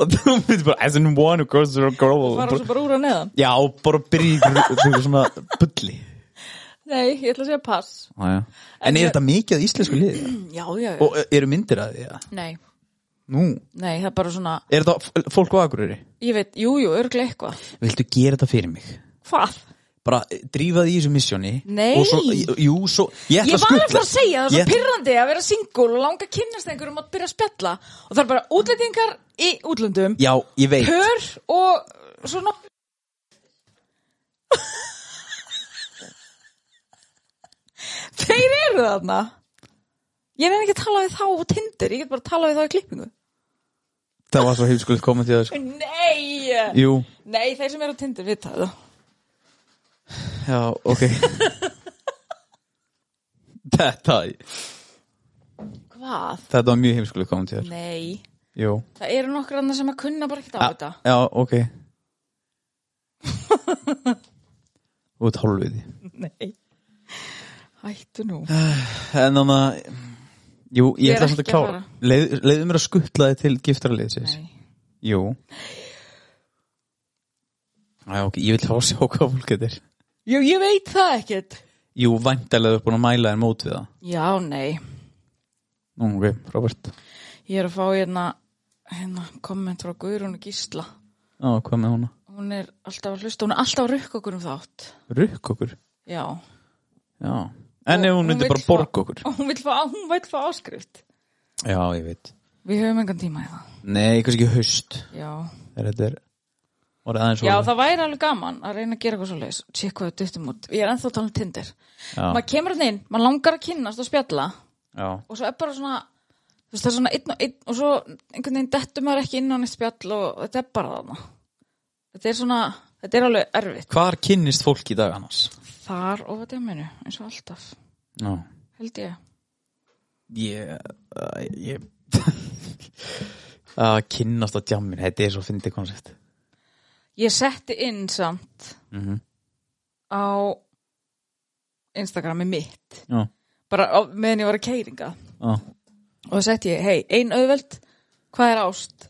Speaker 3: og þú myndir bara as in one girls are girl
Speaker 2: fara svo bara úr að neðan
Speaker 3: Já, bara byrja í einhverju svona bulli
Speaker 2: nei, ég ætla að segja pass
Speaker 3: ah, En er þetta mikið að íslensku liði?
Speaker 2: já, já, já,
Speaker 3: Og eru myndir að því? Ja?
Speaker 2: nei
Speaker 3: Nú,
Speaker 2: Nei, það er bara svona,
Speaker 3: er þetta f- fólk á Akureyri?
Speaker 2: ég veit, jú, jú, örglega eitthvað.
Speaker 3: Viltu gera þetta fyrir mig?
Speaker 2: Hvað?
Speaker 3: bara drífaði í þessu missjóni
Speaker 2: Nei.
Speaker 3: og svo, jú, svo, ég
Speaker 2: Ég
Speaker 3: ætla að
Speaker 2: var
Speaker 3: skutla
Speaker 2: alltaf að segja, það er
Speaker 3: Ég-
Speaker 2: svo pyrrandi að vera singul og langa að kynnast einhverjum og byrja að spjalla og það er bara útlendingar í útlöndum,
Speaker 3: já, ég veit
Speaker 2: pör og svona... Þeir eru þarna. Ég reyna ekki að tala við þá á Tinder, ég get bara að tala við þá í klippingu.
Speaker 3: það var svo heimskulegt komið til það sko.
Speaker 2: Nei!
Speaker 3: jú,
Speaker 2: Nei, þeir sem eru á Tinder, við það.
Speaker 3: já, ok þetta
Speaker 2: Hvað?
Speaker 3: þetta var mjög heimskulegt komið til það
Speaker 2: Nei.
Speaker 3: jú, Ah,
Speaker 2: Það eru nokkur annar sem að kunna bara ekkert á þetta.
Speaker 3: já, ok út hálfiði
Speaker 2: Nei. Hættu nú.
Speaker 3: en þannig að jú, ég,
Speaker 2: Ég er
Speaker 3: ætla samt að
Speaker 2: ekki að
Speaker 3: klára
Speaker 2: fara.
Speaker 3: Leið- leiðu mér að skutla þið til giftaraliðsins
Speaker 2: Nei.
Speaker 3: jú já, ok, ég vil fá að sjá hvað fólk þetta er
Speaker 2: Jú, ég veit það ekkert.
Speaker 3: Jú, væntalega þú er búin að mæla þér mót við það
Speaker 2: Já, nei.
Speaker 3: Nú, ok, Robert
Speaker 2: Ég er að fá hérna, hérna komment frá Guðrún Gísla.
Speaker 3: Já, hvað með hana?
Speaker 2: Hún er alltaf að hlusta, hún er alltaf að rukka okkur um þátt.
Speaker 3: Rukk okkur
Speaker 2: Já.
Speaker 3: Já En ef
Speaker 2: Og
Speaker 3: hún
Speaker 2: hún
Speaker 3: myndi
Speaker 2: vill
Speaker 3: bara
Speaker 2: fá-
Speaker 3: borga okkur
Speaker 2: Og hún vil fá, hún vil fá áskrift.
Speaker 3: Já, ég veit
Speaker 2: Við höfum engan tíma í það.
Speaker 3: Nei, kannski ekki haust
Speaker 2: Já.
Speaker 3: Er þetta er Var aðeins
Speaker 2: Já,
Speaker 3: orðið.
Speaker 2: það væri alveg gaman að reyna að gera eitthvað svo leiðis. Sér hvað þetta eftir út. Ég er ennþá að tala um Tinder.
Speaker 3: Já,
Speaker 2: Maður kemur hann inn, maður langar að kynnast og spjalla.
Speaker 3: já,
Speaker 2: og svo er bara svona þú veist það er svona einn og einn og svo einhvern veginn dettur maður ekki inn á neitt spjall og þetta er bara þarna þetta er svona, þetta er alveg erfitt
Speaker 3: Hvar kynnist fólk í dag annars?
Speaker 2: þar og þetta er minu, eins og alltaf
Speaker 3: Já
Speaker 2: held ég,
Speaker 3: Ég uh, Ég Að kynnast á djammin Þetta er svo fyndið koncept
Speaker 2: ég setti inn samt
Speaker 3: mm
Speaker 2: á Instagrami mitt
Speaker 3: Já,
Speaker 2: bara á, meðan ég var að keiringa
Speaker 3: já,
Speaker 2: og það setti ég, hei, ein auðveld hvað er ást?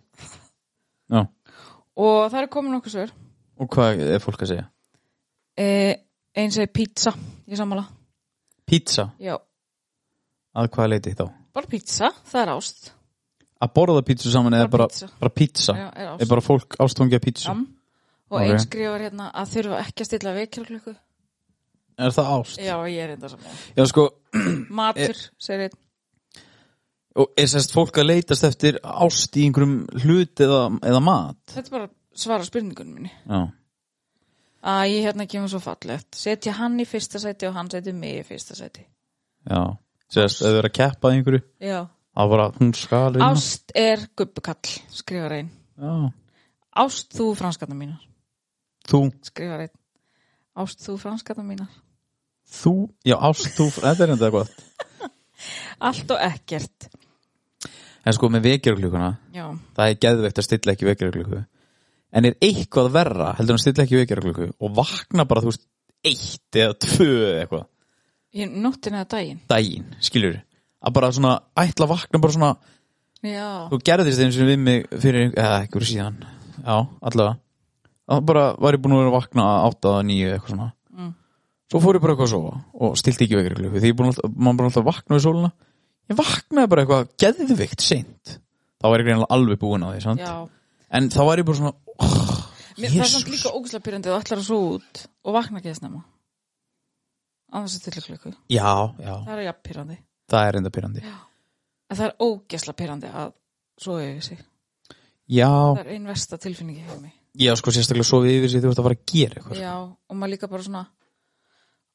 Speaker 3: já
Speaker 2: og það er komin okkur svör
Speaker 3: Og hvað er fólk að segja?
Speaker 2: eh, eins og pizza, ég sammála
Speaker 3: Pizza,
Speaker 2: já,
Speaker 3: að hvað leiti þá?
Speaker 2: bara pizza, það er ást
Speaker 3: Að borða pizza saman eða bara,
Speaker 2: Bara pizza.
Speaker 3: bara pizza
Speaker 2: já, er ást
Speaker 3: Er bara fólk ástfangja pizza?
Speaker 2: Jam. Og
Speaker 3: Ok.
Speaker 2: okay. einn skrifar hérna að þurfa ekki að stilla vekjarklukku.
Speaker 3: Er það ást?
Speaker 2: Já, ég er þetta saman.
Speaker 3: Já, sko,
Speaker 2: Matur, segir einn.
Speaker 3: og er sérst fólk að leitast eftir ást í einhverjum hlut eða, eða mat?
Speaker 2: Þetta er bara að svara spurningunum minni.
Speaker 3: Já.
Speaker 2: Að ég hérna kemur svo fallegt. Setja hann í fyrsta sæti og hann setja mig í fyrsta sæti.
Speaker 3: Já, sérst, ef þau eru að keppa að einhverju,
Speaker 2: Já.
Speaker 3: það var að hún skal vinna.
Speaker 2: Ást er gubbukall, skrifar einn.
Speaker 3: Já,
Speaker 2: Ást þú franskata mínar,
Speaker 3: þú,
Speaker 2: skrifar einn. Ást þú franskata mínar.
Speaker 3: þú, já, ást þú, þetta er enda gott.
Speaker 2: Allt og ekkert.
Speaker 3: En sko, með vekjarklukuna,
Speaker 2: Já.
Speaker 3: það er geðveikt að stilla ekki vekjarkluku. En er eitthvað verra, heldur hann að stilla ekki vekjarkluku og vakna bara, þú veist, eitt eða tvö eða eitthvað.
Speaker 2: Í nóttina eða daginn.
Speaker 3: daginn, skilur að bara svona, ætla að vakna bara svona
Speaker 2: Já.
Speaker 3: þú gerðist eins og við mig fyrir einhver- eða einhverju síðan, já, allavega að bara var ég búin að vera að vakna átta að nýju eitthvað svona
Speaker 2: Mm.
Speaker 3: svo fór ég bara eitthvað að sofa og stilti ekki vekri klukku því ég búin alltaf, maður búin alltaf að vakna við sólina ég vaknaði bara eitthvað geðvikt seint þá var ég greinlega alveg búin á því, sant?
Speaker 2: Já.
Speaker 3: en þá var ég bara svona oh,
Speaker 2: Mér, það er samt líka ógæslega pyrrandi að ætlar að svo út og vakna ekki að snemma. Annars er til klukku.
Speaker 3: já, já,
Speaker 2: Það er jafn pyrrandi.
Speaker 3: það er enda pyrrandi já,
Speaker 2: En það er ógæslega pyrrandi að svo yfir sig. Það
Speaker 3: já,
Speaker 2: er einn versta tilfinningi hjá mig.
Speaker 3: sko sérstaklega sofið yfir sig þú ert að fara að gera eitthvað sko.
Speaker 2: Já, og maður líka bara svona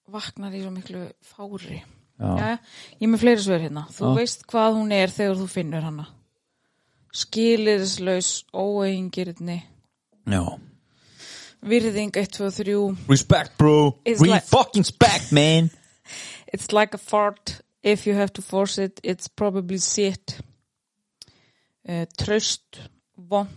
Speaker 2: vaknar í svo miklu fári.
Speaker 3: Já.
Speaker 2: Já, ég er með fleiri svör hérna. Þú
Speaker 3: Já.
Speaker 2: veist hvað hún er þegar þú finnur hana. Skilirislaus, óeingirni,
Speaker 3: já.
Speaker 2: virðing 1, 2, 3,
Speaker 3: Respect, bro.
Speaker 2: It's
Speaker 3: Re
Speaker 2: like-
Speaker 3: fucking spec, man.
Speaker 2: It's like a fart. If you have to force it, it's probably shit. Uh, tröst, vond.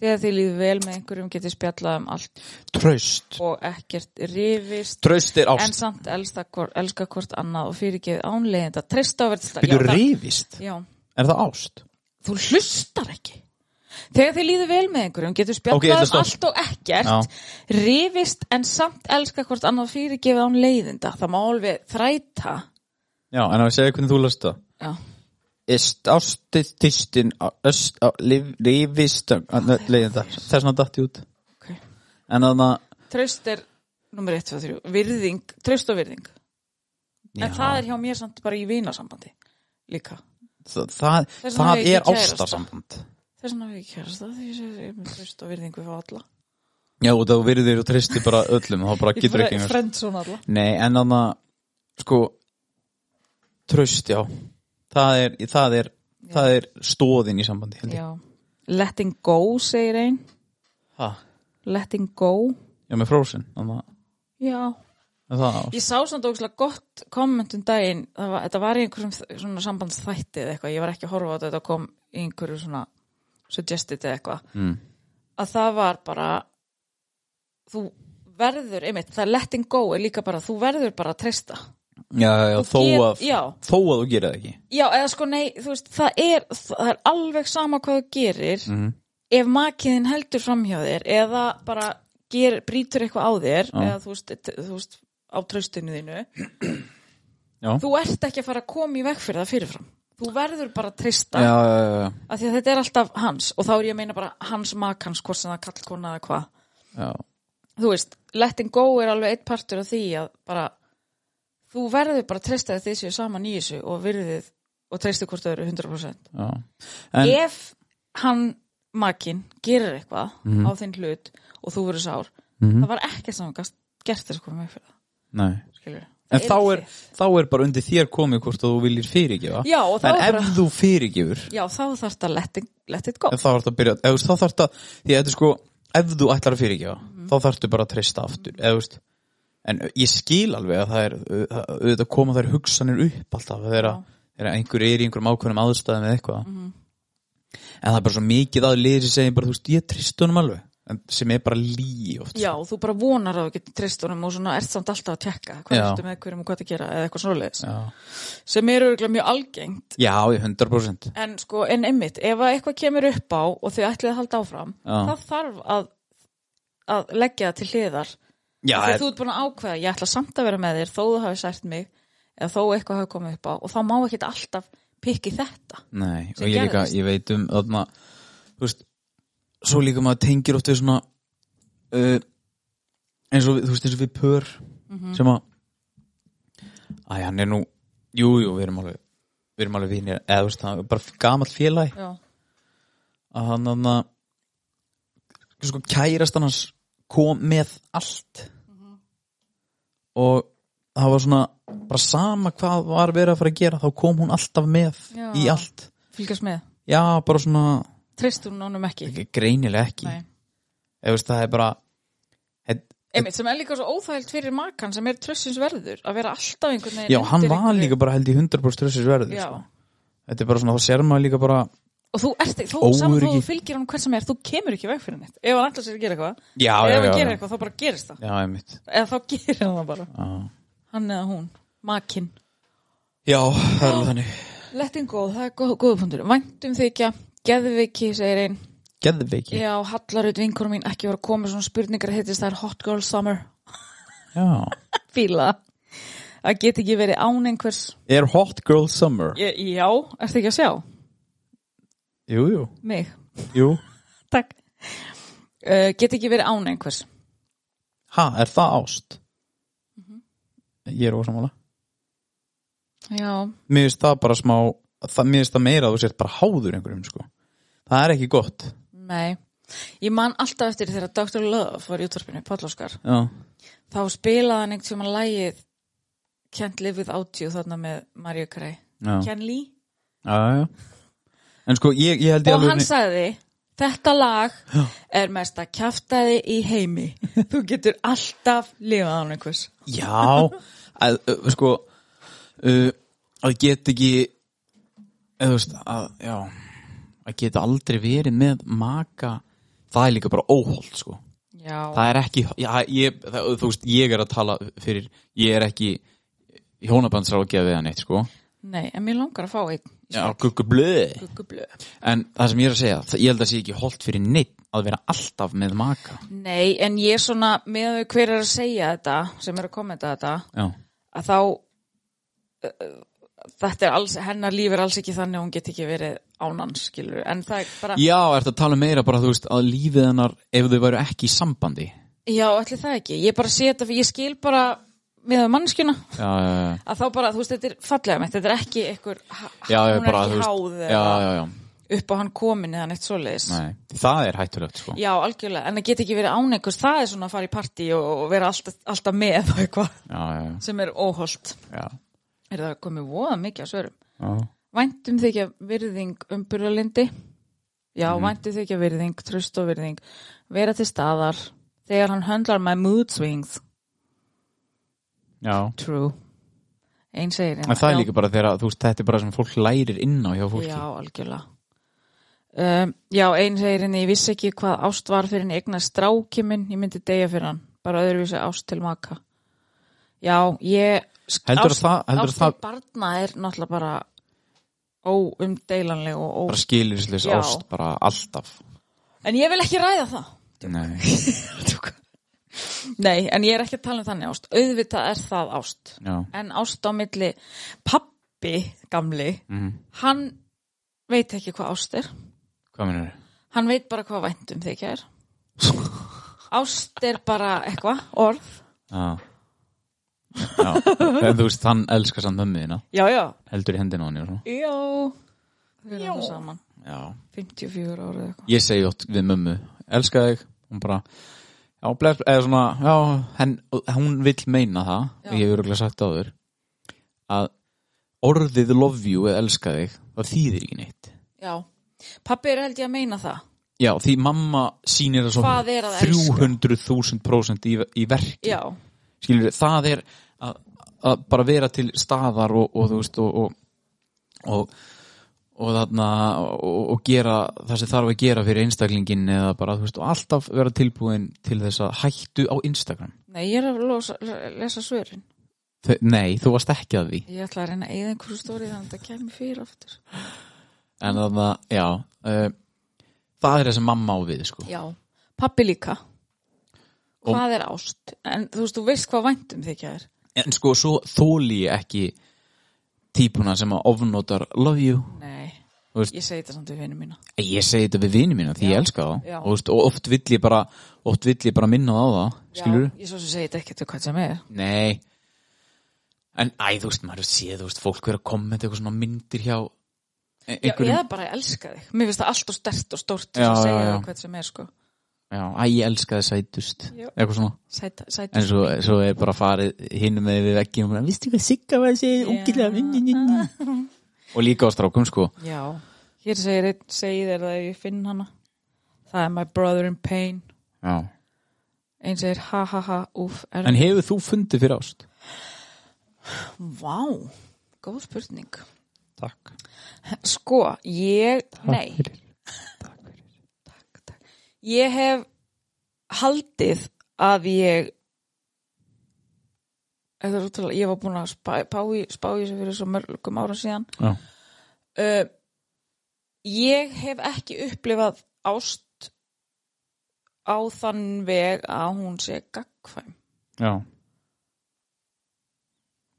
Speaker 2: Þegar þið líður vel með einhverjum getið spjallað um allt
Speaker 3: Tröst.
Speaker 2: og ekkert rifist.
Speaker 3: Tröst er
Speaker 2: En
Speaker 3: ást.
Speaker 2: samt elsta, hvor, elska hvort annað og fyrirgeið ánleginda. Treysta á verðsla.
Speaker 3: Býtu rifist.
Speaker 2: Já,
Speaker 3: Er það ást?
Speaker 2: þú hlustar ekki. Þegar þið líður vel með einhverjum getur spjallað
Speaker 3: Ok, ég ætla
Speaker 2: um allt
Speaker 3: stopp.
Speaker 2: og ekkert, rifist en samt elska hvort annað fyrirgeið án leiðinda. Það má alveg þræta.
Speaker 3: Já, en að við segja hvernig þú last það.
Speaker 2: Já.
Speaker 3: Ist ástið tistin öst, á, lif, rifist leiðin það. Þess að datti út.
Speaker 2: Okay.
Speaker 3: En þannig að
Speaker 2: Traust er nummer 1, 2, 3 Virðing, traust og virðing En
Speaker 3: Já.
Speaker 2: það er hjá mér samt bara í vinasambandi Líka
Speaker 3: það, það,
Speaker 2: Þess vegna
Speaker 3: það
Speaker 2: hef ég
Speaker 3: er
Speaker 2: ekki kærasta.
Speaker 3: ástarsamband.
Speaker 2: Þess vegna hef ég kærast það Því að ég er með traust og virðing við fá alla
Speaker 3: Já, og það virðir og tristir bara öllum. þá bara getur ekki.
Speaker 2: Ég
Speaker 3: einhver-
Speaker 2: frend svona alla
Speaker 3: Nei, en þannig að sko tröst, já. Það er, það er, það er stóðin í sambandi, held ég.
Speaker 2: Já. Letting go segir ein
Speaker 3: Ha,
Speaker 2: Letting go
Speaker 3: já, með frozen. Þannig að
Speaker 2: Já
Speaker 3: Er það ást?
Speaker 2: Ég sá samt ógæslega gott komment um daginn Það var, Þetta var í einhverjum þ- svona sambandsþætti eða eitthvað Ég var ekki að horfa á þetta þetta kom í einhverju svona suggested eða eitthvað
Speaker 3: Mm.
Speaker 2: að það var bara þú verður, einmitt, það letting go er líka bara, þú verður bara að treysta
Speaker 3: Já, já, já,
Speaker 2: Þú
Speaker 3: þó
Speaker 2: get-
Speaker 3: að,
Speaker 2: já.
Speaker 3: þó að þú gerir það ekki.
Speaker 2: já, eða sko nei, þú veist, það er það er alveg sama hvað þú gerir
Speaker 3: Mhm.
Speaker 2: ef makiðin heldur framhjá þér eða bara ger, brýtur eitthvað á þér
Speaker 3: Já.
Speaker 2: eða þú veist, t- þú veist á traustinu þínu
Speaker 3: Já.
Speaker 2: þú ert ekki að fara að koma í veg fyrir það fyrirfram þú verður bara að treysta
Speaker 3: Já, já, já, já,
Speaker 2: af því að þetta er alltaf hans og þá er ég að meina bara hans makans hvort sem það kall kona eða hvað
Speaker 3: já,
Speaker 2: þú veist, letting go er alveg eitt partur af því að bara þú verður bara að treysta að þið séu saman í þessu og virðið og treystu hvort þau eru 100%
Speaker 3: já. En,
Speaker 2: ef hann makinn gerir eitthvað
Speaker 3: Mhm.
Speaker 2: á þinn hlut og þú verður sár, það var ekki saman gast gert þess að koma með fyrir það,
Speaker 3: nei.
Speaker 2: skilur
Speaker 3: En þá er, þá er bara undir þér komið hvort að þú viljir fyrirgefa.
Speaker 2: Já, og þá
Speaker 3: En
Speaker 2: er
Speaker 3: ef
Speaker 2: bara-
Speaker 3: þú fyrirgefur,
Speaker 2: já, þá þarf þetta let, it- let it go
Speaker 3: þá þarf það að byrja, eða þú veist, þá þarf það, því að þetta er sko, ef þú ætlar að fyrirgefa,
Speaker 2: Mhm.
Speaker 3: þá þarf þú bara að treysta aftur, eða þú veist. En ég skil alveg að það er, að- auðvitað koma þær hugsanir upp alltaf, þegar að- þegar einhver er í einhverjum ákveðnum aðstæðum eða eitthvað.
Speaker 2: Mhm.
Speaker 3: En það er bara svo mikið að liðir sem segir bara, þú veist, ég treysta honum alveg, en sem er bara líi oft.
Speaker 2: já, þú bara vonar að þú getur treyst honum og svona ert samt alltaf að tekka hvað
Speaker 3: Já.
Speaker 2: ertu með hverjum og hvað að gera eða eitthvað svoleiðis
Speaker 3: Já.
Speaker 2: sem er örgulega mjög algengt
Speaker 3: Já, ég 100%
Speaker 2: En sko, en einmitt, ef að eitthvað kemur upp á og þau ætlið að halda áfram,
Speaker 3: Já.
Speaker 2: þá þarf að, að leggja það til hliðar.
Speaker 3: Já,
Speaker 2: Þegar
Speaker 3: þú...
Speaker 2: þú ert búin að ákveða, ég ætla samt að vera með þér, þó þú hafi sært mig, eða þó eitthvað hafi komið upp á, og þá má ekkert alltaf pikki þetta.
Speaker 3: nei, og
Speaker 2: sem
Speaker 3: ég líka,
Speaker 2: gerðist.
Speaker 3: ég veit um þarna, þú veist svo líka maður tengir oft við svona uh, eins og við, þú veist eins og við pör
Speaker 2: Mhm.
Speaker 3: sem að æ, hann er nú, jú, jú, við erum alveg við erum alveg vinir, eða þú veist það er bara gamall félagi
Speaker 2: Já,
Speaker 3: að hann hann að sko kærastan hans kom með allt
Speaker 2: Mhm.
Speaker 3: og það var svona bara sama hvað var verið að fara að gera þá kom hún alltaf með
Speaker 2: Já.
Speaker 3: í allt
Speaker 2: fylgjast með.
Speaker 3: já bara svona
Speaker 2: Treystur hún honum ekki.
Speaker 3: greinilega ekki
Speaker 2: Nei.
Speaker 3: eða veist það er bara heit,
Speaker 2: Einmitt, sem er líka svo óþægilt fyrir makan sem er trössins verður, að vera alltaf einhvern veginn.
Speaker 3: já hann
Speaker 2: undir
Speaker 3: var
Speaker 2: einhverju-
Speaker 3: líka bara held í 100% stressir verður
Speaker 2: Já.
Speaker 3: sko. þetta er bara svona þá sér maður líka bara
Speaker 2: Og þú ert, þú,
Speaker 3: Óöryggi.
Speaker 2: saman þú fylgir hann hvern sem er, þú kemur ekki í veg fyrir neitt. Ef hann ætlar sér að gera eitthvað,
Speaker 3: já
Speaker 2: eða
Speaker 3: já
Speaker 2: hann
Speaker 3: já,
Speaker 2: gerir
Speaker 3: já.
Speaker 2: eitthvað, þá bara gerist það.
Speaker 3: já einmitt
Speaker 2: Eða þá gerir hann það bara.
Speaker 3: Já.
Speaker 2: hann eða hún, makinn
Speaker 3: Já, það er alveg þannig
Speaker 2: Letting go, það er góð, góða punktur Væntum þykja, geðviki, segir einn
Speaker 3: Geðveiki
Speaker 2: Já, Hallarut vinkonum mín ekki var að koma með svona spurningar hittist það er Hot Girl Summer
Speaker 3: Já.
Speaker 2: Fíla Það get ekki verið án einhvers
Speaker 3: Er Hot Girl Summer?
Speaker 2: Já, já ertu ekki að sjá?
Speaker 3: Jú, jú,
Speaker 2: Mig,
Speaker 3: jú
Speaker 2: takk uh, Get ekki verið án einhvers
Speaker 3: Ha, er það ást?
Speaker 2: Mhm.
Speaker 3: Ég er ósamála
Speaker 2: Já,
Speaker 3: Mér finnst það bara smá það, Mér finnst það meira að þú sért bara háður einhverjum sko. Það er ekki gott
Speaker 2: nei Ég man alltaf eftir þegar Dr. Love var í útvarpinu, Pállóskar
Speaker 3: Já,
Speaker 2: Þá spilaði hann einhvern tímann lægið Can't Live Without You þarna með Mario Carey
Speaker 3: já, já,
Speaker 2: Can Lee?
Speaker 3: já. En sko, ég, ég held ég
Speaker 2: og hann
Speaker 3: alveg
Speaker 2: sagði þetta lag er mesta kjaftaði í heimi þú getur alltaf lifað án einhvers
Speaker 3: Já, að, uh, sko uh, að geta ekki eða þú veist að, já, að geta aldrei verið með maka það er líka bara óholt sko
Speaker 2: já,
Speaker 3: það er ekki, já, ég, það, þú veist ég er að tala fyrir, ég er ekki hjónabandsráð að gefa við hann eitt sko
Speaker 2: nei, en mér langar að fá einn
Speaker 3: já, guggu blöði
Speaker 2: guggublu
Speaker 3: en það sem ég er að segja, það, ég held að sé ekki holt fyrir neitt að vera alltaf með maka
Speaker 2: nei, en ég er svona með þau hver er að segja þetta sem er að kommenta þetta
Speaker 3: já,
Speaker 2: að þá uh, þetta er alls, hennar líf er alls ekki þannig að hún get ekki verið ánan skilur, en það er bara
Speaker 3: já, ertu að tala meira bara, þú veist, að lífið hennar ef þau væru ekki í sambandi
Speaker 2: já, allir það ekki, ég bara sé þetta fyrir- ég skil bara með mannskina
Speaker 3: já, já, já
Speaker 2: að þá bara, þú veist, þetta er fallega mitt, þetta er ekki einhver, ha-
Speaker 3: já,
Speaker 2: hún
Speaker 3: já,
Speaker 2: er
Speaker 3: bara,
Speaker 2: ekki
Speaker 3: þú veist-
Speaker 2: háð
Speaker 3: já,
Speaker 2: eða
Speaker 3: já, já,
Speaker 2: upp á hann komin eða neitt svoleiðis
Speaker 3: nei, það er hættulegt sko.
Speaker 2: já, algjörlega, en það get ekki verið án einhvers það er svona að fara í partí og, og vera alltaf, alltaf með og eitthvað
Speaker 3: já, já,
Speaker 2: sem er óholt
Speaker 3: já,
Speaker 2: er það komið voða mikið á svörum
Speaker 3: já.
Speaker 2: væntum þykja virðing umburðalindi já,
Speaker 3: Mhm.
Speaker 2: væntum þykja virðing tröst og virðing, vera til staðar þegar hann höndlar my mood swings
Speaker 3: já.
Speaker 2: true einn segir hérna,
Speaker 3: en það
Speaker 2: já.
Speaker 3: er líka bara þegar, að, þú veist, þetta er bara sem fólk lærir inn á hjá fólki
Speaker 2: Já, algjörlega. Um, já, einn segir henni, ég vissi ekki hvað ást var fyrir henni eignar stráki minn, ég myndi deyja fyrir hann, bara öðruvísi ást til maka. Já, ég,
Speaker 3: Heldurðu
Speaker 2: ást,
Speaker 3: það- heldurðu
Speaker 2: ást
Speaker 3: það-
Speaker 2: til barna er náttúrulega bara óumdeilanleg og ó...
Speaker 3: bara skilirisleis
Speaker 2: Já.
Speaker 3: ást bara alltaf
Speaker 2: En ég vil ekki ræða það.
Speaker 3: nei,
Speaker 2: Tjók. Nei, en ég er ekki að tala um þannig ást. Auðvitað er það ást.
Speaker 3: já,
Speaker 2: En ást á milli pappi, gamli, hann veit ekki hvað ást er.
Speaker 3: hvað minnur
Speaker 2: Hann veit bara hvað væntum þykja er. Ást er bara eitthvað, orð.
Speaker 3: já, já. en þú veist, hann elskar samt mömmuðina
Speaker 2: Já, já.
Speaker 3: heldur í hendina á henni og
Speaker 2: Já.
Speaker 3: svona
Speaker 2: Þau eru það saman.
Speaker 3: já.
Speaker 2: 54 ára eða eitthvað.
Speaker 3: ég segi ótt við mömmu, elska þig hún bara Já, bless, eða svona, já, henn, hún vill meina það,
Speaker 2: Já.
Speaker 3: ég hef örgulega sagt áður, að orðið love you eða elska þig, það þýðir ekki neitt.
Speaker 2: Já. Pappi er held ég að meina það.
Speaker 3: Já, því mamma sýnir það
Speaker 2: Hvað er
Speaker 3: svo
Speaker 2: að
Speaker 3: 300.000% í, í verki.
Speaker 2: Já.
Speaker 3: Skilur, það er að, að bara vera til staðar og, og þú veist, og, og, og, og þarna, og, og gera það sem þarf að gera fyrir einstaklingin eða bara, þú veist, og alltaf vera tilbúin til þess að hættu á Instagram.
Speaker 2: Nei, ég er að losa, lesa svörin.
Speaker 3: Þe- Nei, þú varst ekki að því
Speaker 2: Ég ætla að reyna að eyða einhverju stóri þannig að þetta kemur fyrir aftur.
Speaker 3: En þannig að, já uh, Það er þessi mamma á við, sko
Speaker 2: Já. Pappi líka.
Speaker 3: Og-
Speaker 2: Hvað er ást? En þú veist, þú veist hvað væntum þykja er.
Speaker 3: En sko, svo þóli ég ekki Típuna sem að ofnotar Love you
Speaker 2: Nei.
Speaker 3: Þú veist-
Speaker 2: Ég segi þetta samt við vinnu mína.
Speaker 3: Ég segi þetta við vini mína, því ég elska það
Speaker 2: já.
Speaker 3: og, þú veist, og oft vill ég bara Oft vill ég bara minna það á það, skilur
Speaker 2: Já, ég svo sem segi þetta ekkert við hvað sem er.
Speaker 3: Nei En æ, þú veist, maður sé, þú veist, fólk vera að kommenta eitthvað svona myndir hjá e-
Speaker 2: Já,
Speaker 3: einhverjum,
Speaker 2: eða bara ég elska þig. Mér finnst það allt og stert og stórt til
Speaker 3: Já,
Speaker 2: að segja
Speaker 3: já, já.
Speaker 2: það hvað sem er, sko.
Speaker 3: já, æ, ég elska það sætust
Speaker 2: Já.
Speaker 3: eitthvað svona,
Speaker 2: Sæta,
Speaker 3: en
Speaker 2: sæta.
Speaker 3: svo, svo er bara farið hinum með við veggjum og vistu hvað Sigga var að segja, ógælega yeah. og líka á strákum, sko
Speaker 2: Já. Hér segir einn, segir þér það ef ég finn hana. Það er my brother in pain.
Speaker 3: Já.
Speaker 2: Einn segir ha ha ha, úf, er...
Speaker 3: En hefur þú fundið fyrir ást?
Speaker 2: Vá, góð spurning.
Speaker 3: Takk.
Speaker 2: Sko, ég, nei. Takk, takk. Ég hef haldið að ég þetta er svo til að ég var búin að spá, spá, í, spá í þessu fyrir svo mörgum ára síðan
Speaker 3: Já.
Speaker 2: uh, ég hef ekki upplifað ást á þann veg að hún sé gagkvæm
Speaker 3: Já.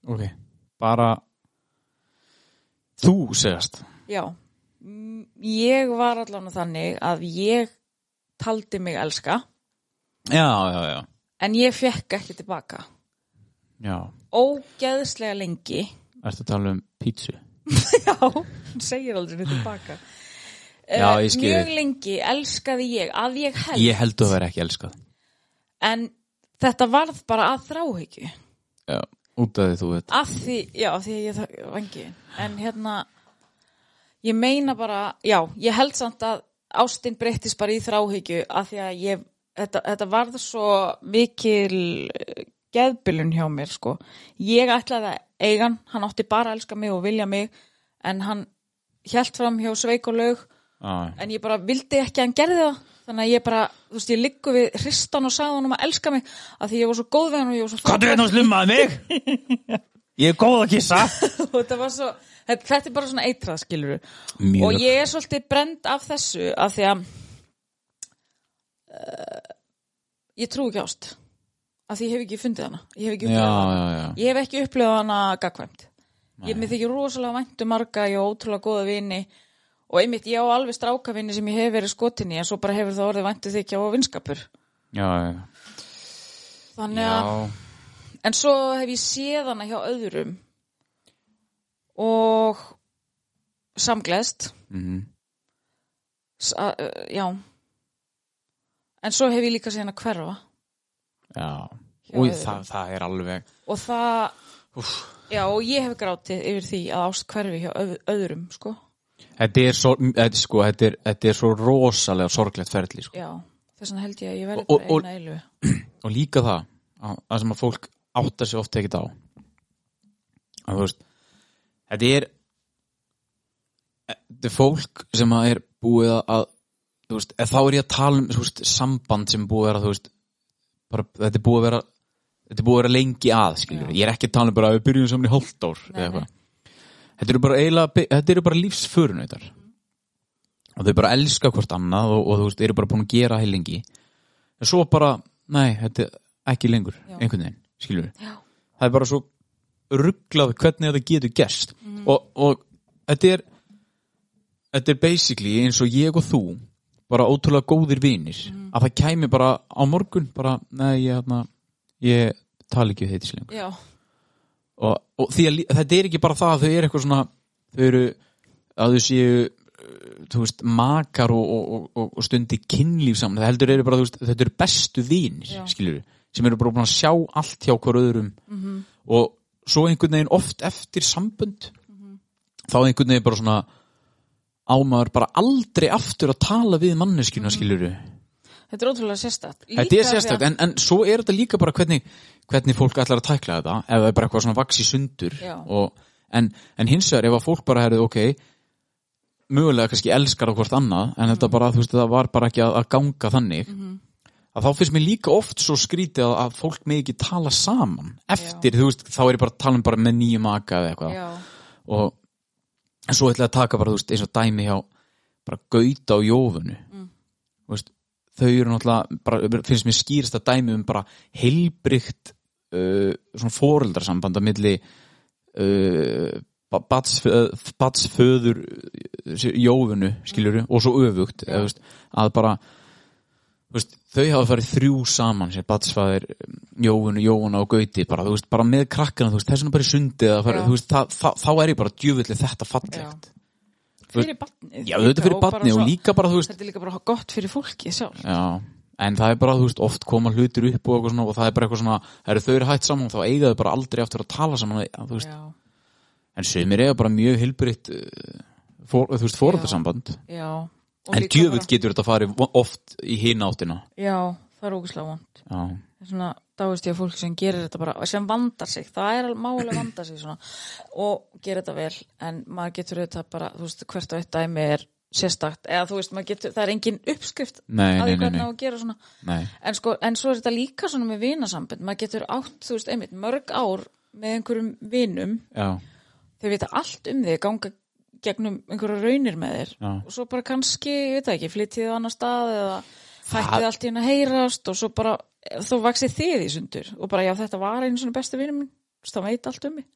Speaker 3: Ok. Bara þú segast.
Speaker 2: já, M- ég var allan þannig að ég taldi mig elska
Speaker 3: Já, já, já.
Speaker 2: en ég fekk ekki tilbaka
Speaker 3: Já.
Speaker 2: ógeðslega lengi
Speaker 3: Ertu að tala um pítsu?
Speaker 2: já, hún segir aldrei neitt tilbaka
Speaker 3: Já,
Speaker 2: Eh,
Speaker 3: ég skil.
Speaker 2: mjög lengi elskaði ég að ég held
Speaker 3: Ég held að vera ekki elskað.
Speaker 2: en þetta varð bara að þráhyggju
Speaker 3: Já. Út af því þú veit.
Speaker 2: að því, já, af því að ég þa- vangi en hérna ég meina bara, já, ég held samt að ástin breyttist bara í þráhyggju að því að ég, þetta, þetta varð svo mikil eh, geðbilun hjá mér, sko ég ætlaði að eiga hann, hann átti bara að elska mig og vilja mig, en hann hjælt fram hjá sveik og laug
Speaker 3: Já.
Speaker 2: en ég bara vildi ekki að hann gerði það þannig að ég bara, þú veist, ég liggu við hristan og sagði hann um að elska mig að því ég var svo góð við hann og ég var svo
Speaker 3: Hvað er þetta að slummaði mig? Ég er góð að kissa.
Speaker 2: og þetta var svo, þetta, þetta er bara svona eitrað skilur
Speaker 3: Mjög.
Speaker 2: og ég er svolítið brend af þessu af því að uh, ég trú ekki ást af því ég hef ekki fundið hana ég hef ekki
Speaker 3: Já,
Speaker 2: upplifað hana,
Speaker 3: já, já.
Speaker 2: ég hef ekki upplifað hana gagkvæmt ég mér þykir rosalega væntu marga ég á ótrúlega góða vini og einmitt ég á alveg strákavinni sem ég hef verið skotinni en svo bara hefur það orðið um væntu þykja og vinskapur
Speaker 3: Já, já.
Speaker 2: þannig að
Speaker 3: Já.
Speaker 2: En svo hef ég séð hana hjá öðrum og samgleðst,
Speaker 3: Mhm.
Speaker 2: S- a- ö, já. En svo hef ég líka séð hana hverfa
Speaker 3: Já.
Speaker 2: Já,
Speaker 3: Új,
Speaker 2: já.
Speaker 3: það, það er alveg.
Speaker 2: og það, já og ég hef grátið yfir því að ást hverfi hjá öð- öðrum, sko.
Speaker 3: Þetta er svo, þetta, sko, þetta er, þetta er svo rosalega sorglegt ferli, sko.
Speaker 2: Já, þess vegna held ég að ég verði
Speaker 3: Og-
Speaker 2: bara
Speaker 3: og-
Speaker 2: eina eilu.
Speaker 3: Og líka það, að, að sem að fólk áttar sér oft ekkert á. Að þú veist, þetta er, þetta er fólk sem að er búið að- að, þú veist, eða þá er ég að tala um, þú veist, samband sem búið að vera, þú veist, bara, þetta er búið að vera, þetta er búið að vera lengi að, skiljur. Ég er ekki að tala um bara að við byrjum saman í hálft ár,
Speaker 2: Nei,
Speaker 3: eða
Speaker 2: nei.
Speaker 3: eitthvað. Þetta eru bara eiginlega, þetta eru bara lífsförunautar.
Speaker 2: Mhm.
Speaker 3: og þau bara elska hvort annað og, og þú veist, eru bara búin að gera heilingi en svo bara, nei, þetta er ekki lengur
Speaker 2: Já.
Speaker 3: einhvern veginn, skilur við
Speaker 2: Já.
Speaker 3: það er bara svo rugglað hvernig þetta getur gerst
Speaker 2: Mhm.
Speaker 3: og, og þetta er þetta er basically eins og ég og þú bara ótrúlega góðir vinir
Speaker 2: Mhm.
Speaker 3: að það kæmi bara á morgun bara, nei, ég, hérna, ég tala ekki við þetta lengur
Speaker 2: Já,
Speaker 3: og, og því að lí- þetta er ekki bara það að þau eru eitthvað svona þau eru að þau séu uh, þú veist, makar og, og- og, og, og stundi kynlíf saman, það heldur eru bara þú veist, þetta eru bestu vinir,
Speaker 2: Já.
Speaker 3: skilur sem eru bara búin að sjá allt hjá hver öðrum -hmm. og svo einhvern veginn oft eftir sambönd þá einhvern veginn bara svona ámaður bara aldrei aftur að tala við manneskjuna, skilur
Speaker 2: þetta er ótrúlega sérstætt.
Speaker 3: Þetta er sérstakt, en, en svo er þetta líka bara hvernig, hvernig fólk ætlar að tækla þetta ef það er bara eitthvað svona vaks í sundur
Speaker 2: Já.
Speaker 3: og, en, en hins vegar ef að fólk bara herrið ok mögulega kannski elskar á hvort annað en
Speaker 2: Mm.
Speaker 3: þetta bara, þú veist, það var bara ekki að, að ganga þannig
Speaker 2: Mhm.
Speaker 3: að þá finnst mér líka oft svo skrítið að, að fólk með ekki tala saman eftir, þú veist, þá er ég bara að tala um bara með nýju maka eða eitthvað
Speaker 2: Já,
Speaker 3: og en svo ætlaði að taka bara, þú veist, eins og dæmi hjá bara gauta á jófunu þú veist, þau eru náttúrulega bara, finnst mér skýrst að dæmi um bara heilbrygt uh, svona foreldrasamband að milli uh, batsföður jófunu, skilur uh, og svo öfugt, eða, þú veist, að bara þú veist, þau hafa farið þrjú saman sem batsfæðir Jóun, Jóun og Gauti bara, þú veist, bara með krakkana, þú veist, þessum bara í sundið að
Speaker 2: Já.
Speaker 3: fara, þú veist, það, það, þá er ég bara djöfulli þetta fallegt. Já,
Speaker 2: fyrir batnið.
Speaker 3: auðvitað fyrir
Speaker 2: líka, og bara
Speaker 3: barni og
Speaker 2: svo-
Speaker 3: líka bara, þú veist,
Speaker 2: Þetta er líka bara gott fyrir fólkið sjálf.
Speaker 3: já, en það er bara, þú veist, oft koma hlutir upp og eitthvað svona og það er bara eitthvað svona, eru þau eru hætt saman þá eiga þau bara aldrei aftur að tala saman, að, þú veist,
Speaker 2: Já,
Speaker 3: en sumir eiga bara mjög hilbritt, for, þú veist, foreldrasamband.
Speaker 2: já. Og
Speaker 3: En
Speaker 2: líka
Speaker 3: djöfull
Speaker 2: bara-
Speaker 3: getur þetta farið oft í hina áttina.
Speaker 2: Já, það er ógislega vond.
Speaker 3: Já,
Speaker 2: Það er svona dáist ég að fólk sem gerir þetta bara sem vandar sig, það er málega vandar sig svona og gerir þetta vel en maður getur auðvitað bara, þú veist, hvert og eitt dæmi er sérstakt eða þú veist, maður getur, það er engin uppskrift
Speaker 3: Nei,
Speaker 2: að
Speaker 3: nei,
Speaker 2: því
Speaker 3: nei,
Speaker 2: hvernig
Speaker 3: nei.
Speaker 2: á að gera svona
Speaker 3: Nei.
Speaker 2: en, sko, en svo er þetta líka svona með vinasambund maður getur átt, þú veist, einmitt mörg ár með einhverjum vinum
Speaker 3: Já,
Speaker 2: þau vita allt um þig, ganga gegnum einhverja raunir með þér
Speaker 3: Já.
Speaker 2: og svo bara kannski, ég veit það ekki, flyttið á annar stað eða hættið allt í henni að heyrast og svo bara, þó vaksið þið í sundur og bara, já, þetta var einu svona besti vinur minn þú veist, það veit allt um mig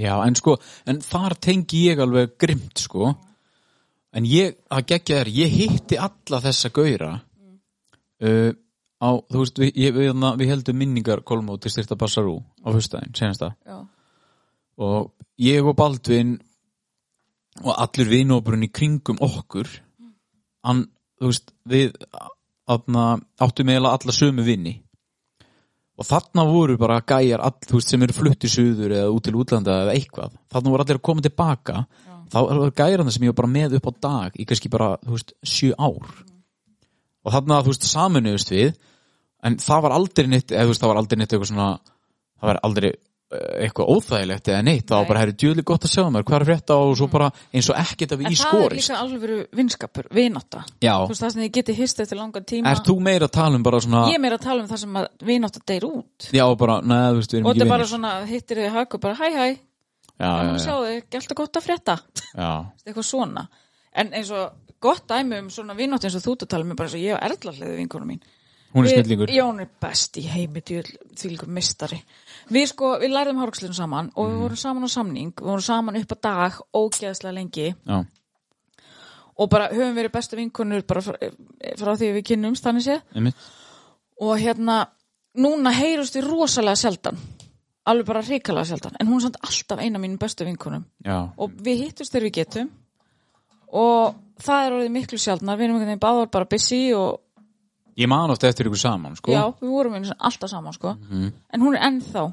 Speaker 3: já, en sko, en þar tengi ég alveg grimt, sko. En ég, að gegja þér, ég hitti alla þessa gauðra uh, á, þú veist, við, ég, við, hérna- við heldum minningar kolmó til styrta Bassarú á fyrstæðin, senast það.
Speaker 2: já,
Speaker 3: Og ég og Baldvin og allur vinóbrun í kringum okkur, hann, þú veist, við aðna, áttum eiginlega alla sömu vinni. Og þarna voru bara gæjar all, þú veist, sem eru flutt í suður eða út til útlanda eða eitthvað. Þarna voru allir að koma tilbaka. Já. Þá voru gæjarna sem ég var bara með upp á dag í kannski bara, þú veist, sjö ár.
Speaker 2: Mm.
Speaker 3: Og þarna, þú veist, saminuðust við. En það var aldrei neitt, eða þú veist, það var aldrei neitt eitthvað svona, það var aldrei eh, eitthvað óþægilegt eða neitt. Það
Speaker 2: Nei.
Speaker 3: var
Speaker 2: Mm.
Speaker 3: bara, herri, djúðlega gott að sjá mér, hvað er að frétta og svo bara eins og ekkert að
Speaker 2: en
Speaker 3: við í
Speaker 2: það er
Speaker 3: skorist.
Speaker 2: líka alveg vinskapur, vinátta
Speaker 3: Já,
Speaker 2: þú veist, það sem þið getið hist eftir langan tíma
Speaker 3: er þú meira að tala um bara svona,
Speaker 2: ég er meira að tala um það sem að vinátta deyr út
Speaker 3: já, bara, neða, þú veist,
Speaker 2: og
Speaker 3: við erum
Speaker 2: þetta
Speaker 3: ekki
Speaker 2: er bara
Speaker 3: vinnir.
Speaker 2: svona, hittir þið í hak og bara hæ hæ,
Speaker 3: Já, já,
Speaker 2: sjáðu, gælt að gott að frétta
Speaker 3: já, já.
Speaker 2: eitthvað svona en eins og gott dæmi um svona vinnátt eins og þú ert að tala um er bara eins og ég og Erla hliði vinkonu mín
Speaker 3: Hún er
Speaker 2: Við-
Speaker 3: snillingur.
Speaker 2: já, hún er best í heimi því líka mistari við sko, við læriðum hárkslun saman og
Speaker 3: Mm.
Speaker 2: við vorum saman á samning við vorum saman upp að dag, ógeðslega lengi
Speaker 3: Já,
Speaker 2: og bara höfum verið bestu vinkonur bara frá, eh, frá því við kynnumst þannig séð
Speaker 3: einmitt.
Speaker 2: og hérna, núna heyrust við rosalega sjaldan alveg bara hrikalega sjaldan, en hún er samt alltaf eina mínum bestu vinkonum
Speaker 3: Já,
Speaker 2: og við hittumst þegar við getum og það er orðið miklu sjaldnar við erum einhvern veginn báðar bara busy og
Speaker 3: ég man ofta eftir ykkur saman, sko.
Speaker 2: já, við vorum einu sinni alltaf saman sko en hún er ennþá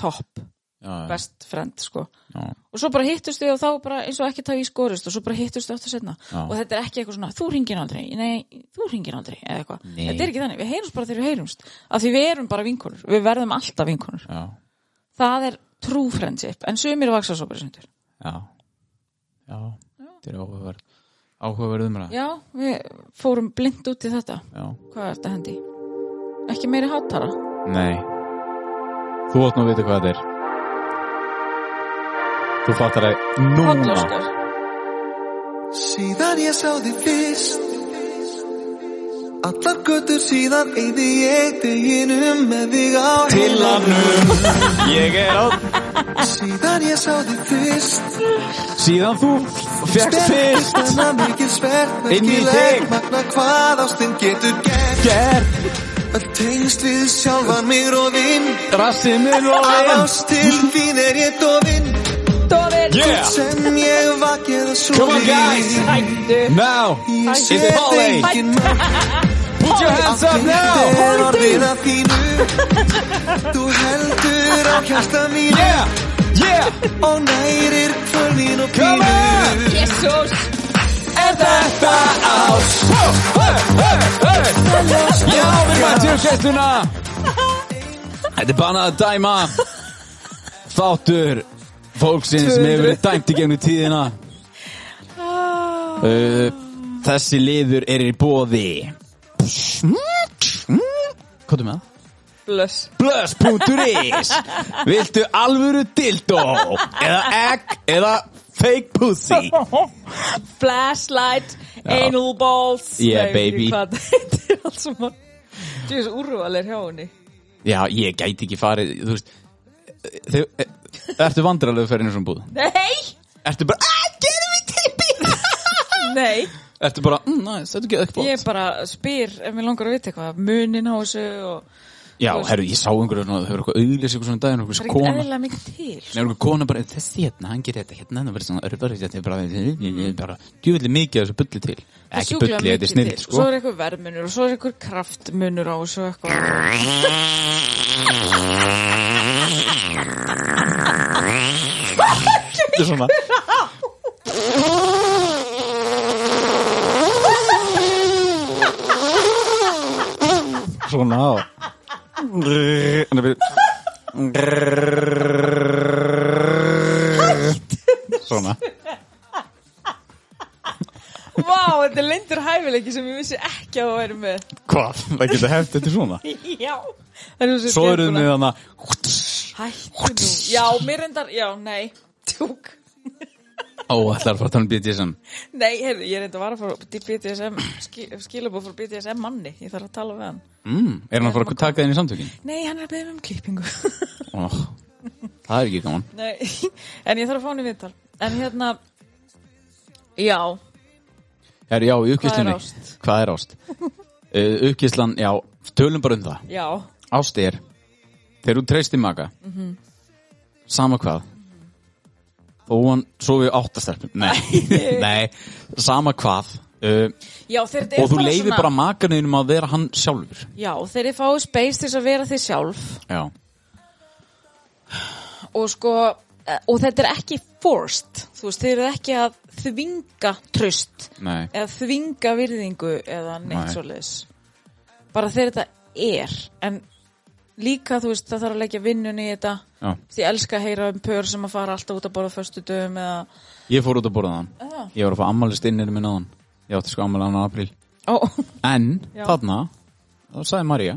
Speaker 2: topp
Speaker 3: Mhm. já, já,
Speaker 2: best friend sko
Speaker 3: já,
Speaker 2: og svo bara hittumst við og þá bara eins og ekki tagi skorist og svo bara hittumst við aftur setna
Speaker 3: Já.
Speaker 2: og þetta er ekki eitthvað svona, þú ringir aldrei nei, þú ringir aldrei eða eitthvað
Speaker 3: Nei.
Speaker 2: þetta er ekki þannig, við heyrumst bara þegar við heyrumst af því við erum bara vinkonur, við verðum alltaf vinkonur
Speaker 3: já,
Speaker 2: það er true friendship, en sumir vaksa svo bara sundur
Speaker 3: já, já, þetta er áhugaverð, áhugaverð umræð.
Speaker 2: já, við fórum blind út í þetta
Speaker 3: Já,
Speaker 2: Hvað er þetta hendi? Ekki meiri hátara?
Speaker 3: nei, þú átt nú að vita hvað þetta er. Þú fattar það núna.
Speaker 2: Hátlaskar?
Speaker 4: Síðan ég sá þig fyrst Allar götur síðan eyði ég deginum með þig á heilanum
Speaker 3: Ég er á,
Speaker 4: Síðan ég sá þig fyrst
Speaker 3: síðan þú fegst fyrst
Speaker 4: Spenna mikil sverð
Speaker 3: Inn í
Speaker 4: Merkileg
Speaker 3: þig.
Speaker 4: magna hvað ástinn getur gert
Speaker 3: gerð,
Speaker 4: Öll tengst við sjálfan mig róðinn
Speaker 3: rassið minn og
Speaker 4: Af
Speaker 3: einn.
Speaker 4: ást til þín er ég dofinn
Speaker 2: Dófið!
Speaker 3: Yeah,
Speaker 4: Sem ég vakið að svo
Speaker 3: come on guys,
Speaker 2: Hættu!
Speaker 3: now,
Speaker 4: Ég
Speaker 3: It's
Speaker 4: sé
Speaker 3: falling.
Speaker 4: engin mörg
Speaker 3: put your hands up now.
Speaker 4: er orðin að þínu Þú heldur á hjarta mínu
Speaker 3: Yeah, yeah,
Speaker 4: Og nærir kvölin og
Speaker 3: Come
Speaker 4: pínu
Speaker 3: on!
Speaker 2: Jésús!
Speaker 3: er þetta ást? Hó, hó, hó, hó. Já, við mættum gæstuna Þetta er bannað að dæma Þáttur Fólksins sem hefur verið dæmt í gegnum tíðina uh, Þessi liður er í bóði Hvað er með það?
Speaker 2: Blöss.
Speaker 3: Blöss.is Viltu alvöru dildó Eða egg Eða fake pussy
Speaker 2: Flashlight, anal balls. Nei,
Speaker 3: Yeah,
Speaker 2: ég veit
Speaker 3: baby.
Speaker 2: ekki Hvað þetta er allt saman. Þú veist, úrval er hjá henni.
Speaker 3: Já, ég gæti ekki farið, þú veist þau, e, Ertu vandrarlegu fyrir svona búð?
Speaker 2: Nei!
Speaker 3: Ertu bara, að, gerum við tippi
Speaker 2: Nei!
Speaker 3: Ertu bara, mm, næs, þetta getur ekki
Speaker 2: Ég bara spyr ef mér langar að vita eitthvað. Munin á þessu og...
Speaker 3: Já, herru, ég sá einhverju, svona, þau hefur eitthvað auðlýs eitthvað svona daginn,
Speaker 2: Það
Speaker 3: einhverju
Speaker 2: er ekkert
Speaker 3: kona
Speaker 2: eðlilega mikið til.
Speaker 3: Nei, einhverju kona bara, þessi hérna, hann gerir þetta hérna, það verður svona örfari þetta er bara, ég er bara, djúvillig mikið af þessu bulli til Ekki bulli,
Speaker 2: Sjúklega
Speaker 3: þetta
Speaker 2: mikið
Speaker 3: er snill,
Speaker 2: til.
Speaker 3: sko
Speaker 2: Svo er eitthvað verðmunur og svo er eitthvað kraftmunur á þessu eitthvað.
Speaker 3: Þetta er svona Svona á Þannig við Svona
Speaker 2: Vá, þetta Þetta er lindur hæfileiki sem ég vissi ekki að það væri með.
Speaker 3: Hvað? Það getur heft þetta svona
Speaker 2: Já. Það er
Speaker 3: Svo erum við þannig að
Speaker 2: hérna Hættu nú. Já, mér endar, já, nei. Tjúk.
Speaker 3: Ó, ætlar að fara að tala um BDSM
Speaker 2: Nei, heyrðu, ég er enda að vara að fara til BDSM, skil, skilabóð frá BDSM manni. Ég þarf að tala við hann.
Speaker 3: mm, Er hann að fara að taka þinn í samtökin?
Speaker 2: Nei, hann er að beða mig um klippingu.
Speaker 3: Ó, það er ekki gaman
Speaker 2: nei, en ég þarf að fá hann í viðtal. En hérna, já,
Speaker 3: Her, Já, í uppkýslunni
Speaker 2: Hvað er ást?
Speaker 3: Hvað er ást? Uh, uppkýslan, já, tölum bara um það
Speaker 2: já,
Speaker 3: Ást er Þegar þú treystir maka
Speaker 2: Mhm.
Speaker 3: Sama hvað Þó hann svo við áttastelpum Nei, nei, sama hvað uh,
Speaker 2: já, þeir
Speaker 3: Og þú leifir bara makaninum að vera hann sjálfur
Speaker 2: Já, þeir eru fáið space til þess að vera þið sjálf.
Speaker 3: Já
Speaker 2: og sko eh, og þetta er ekki forced þú veist, þeir eru ekki að þvinga tröst
Speaker 3: Nei.
Speaker 2: eða þvinga virðingu eða neitt
Speaker 3: Nei.
Speaker 2: svoleiðis bara þegar þetta er en líka þú veist það þarf að leggja vinnunni í þetta
Speaker 3: Já.
Speaker 2: því ég elska að heyra um pör sem að fara alltaf út að borða föstu dögum eða
Speaker 3: Ég fór út að borða þann
Speaker 2: Já.
Speaker 3: Ég var að fá ammalist innir minn aðan Ég átti sko ammali annan apríl
Speaker 2: Ó,
Speaker 3: En
Speaker 2: Já.
Speaker 3: þarna þá sagði Marja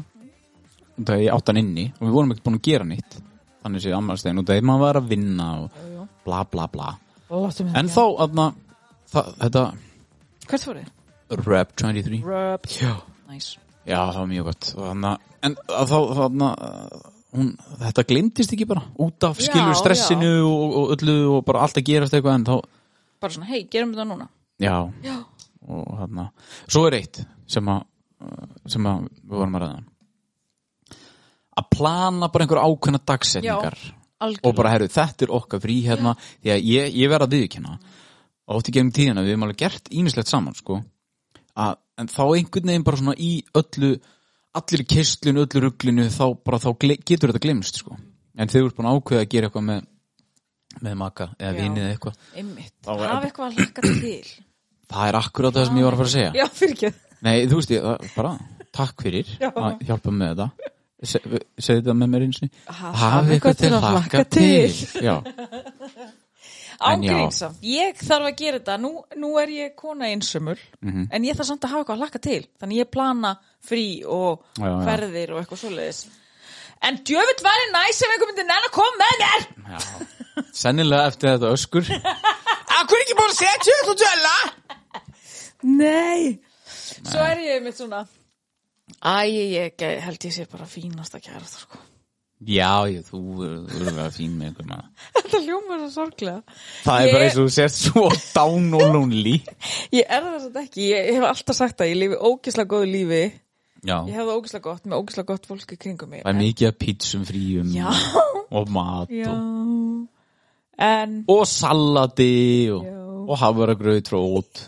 Speaker 3: út að ég átti hann inni og við vorum ekkert búin að gera nýtt þannig séð ammalist út að maður var að vinna og bla bla bla
Speaker 2: láttu mig
Speaker 3: En þá aðna það, þetta
Speaker 2: hvert fór þið?
Speaker 3: Rap 23
Speaker 2: Röp,
Speaker 3: Já,
Speaker 2: nice
Speaker 3: Já það var mjög gott og þarna, En að þá þarna uh, hún, þetta glemtist ekki bara út af
Speaker 2: Já,
Speaker 3: skilur stressinu og, og öllu og bara allt að gerast eitthvað en þá
Speaker 2: bara svona, hei, gerum þetta núna
Speaker 3: Já, og þarna Svo er eitt sem að uh, sem að við vorum að ræða að plana bara einhver ákveðna dagsetningar og
Speaker 2: algjörlega
Speaker 3: bara herru, þetta er okkar frí hérna því að ég, ég verð að viðkynna átti gegnum tíðina, við hefum alveg gert ýmislegt saman sko að, en þá einhvern veginn bara svona í öllu allir kistlun, öllu rugglinu þá bara þá gle- getur þetta glemst sko en þegar þú ert búin að ákveða að gera eitthvað með með maka eða
Speaker 2: Já.
Speaker 3: vinið eða eitthvað
Speaker 2: einmitt,
Speaker 3: Þá er-
Speaker 2: hafa eitthvað að hlakka til
Speaker 3: það er akkurat það sem ég var að fara að segja
Speaker 2: já, fyrir ekki
Speaker 3: Nei, þú veist, ég, það- bara takk fyrir
Speaker 2: Já.
Speaker 3: að hjálpa með þetta Se, segðu þetta með mér eins og
Speaker 2: Hafa eitthvað til að hlakka
Speaker 3: Já, En já.
Speaker 2: Ángrínsam, ég þarf að gera þetta nú, nú er ég kona einsömmul
Speaker 3: Mhm.
Speaker 2: en ég þarf samt að hafa eitthvað að hlakka til þannig ég plana frí og
Speaker 3: Já, já.
Speaker 2: ferðir og eitthvað svoleiðis en djöfitt væri næs ef einhver myndi nenn að koma með mér
Speaker 3: já Sennilega eftir þetta öskur Akkur ekki búin að setja þetta og djöla
Speaker 2: Nei Svo er ég mitt svona Æ, ég ég held ég sé bara fínasta kæra það sko
Speaker 3: Já, ég, þú verður að vera fín með einhver maður
Speaker 2: Þetta hljómar svo sorglega
Speaker 3: Það
Speaker 2: Ég-
Speaker 3: er bara eins og þú sést svo down og lonely
Speaker 2: Ég er það samt ekki, ég, ég hef alltaf sagt að ég lifi ógislega góðu lífi
Speaker 3: Já,
Speaker 2: Ég hef það ógislega gott með ógislega gott fólk í kringum mig
Speaker 3: það er mikið að pítsum fríum
Speaker 2: Já.
Speaker 3: og mat
Speaker 2: Já
Speaker 3: og,
Speaker 2: En
Speaker 3: og salati og,
Speaker 2: Já.
Speaker 3: og hafaragraut og ót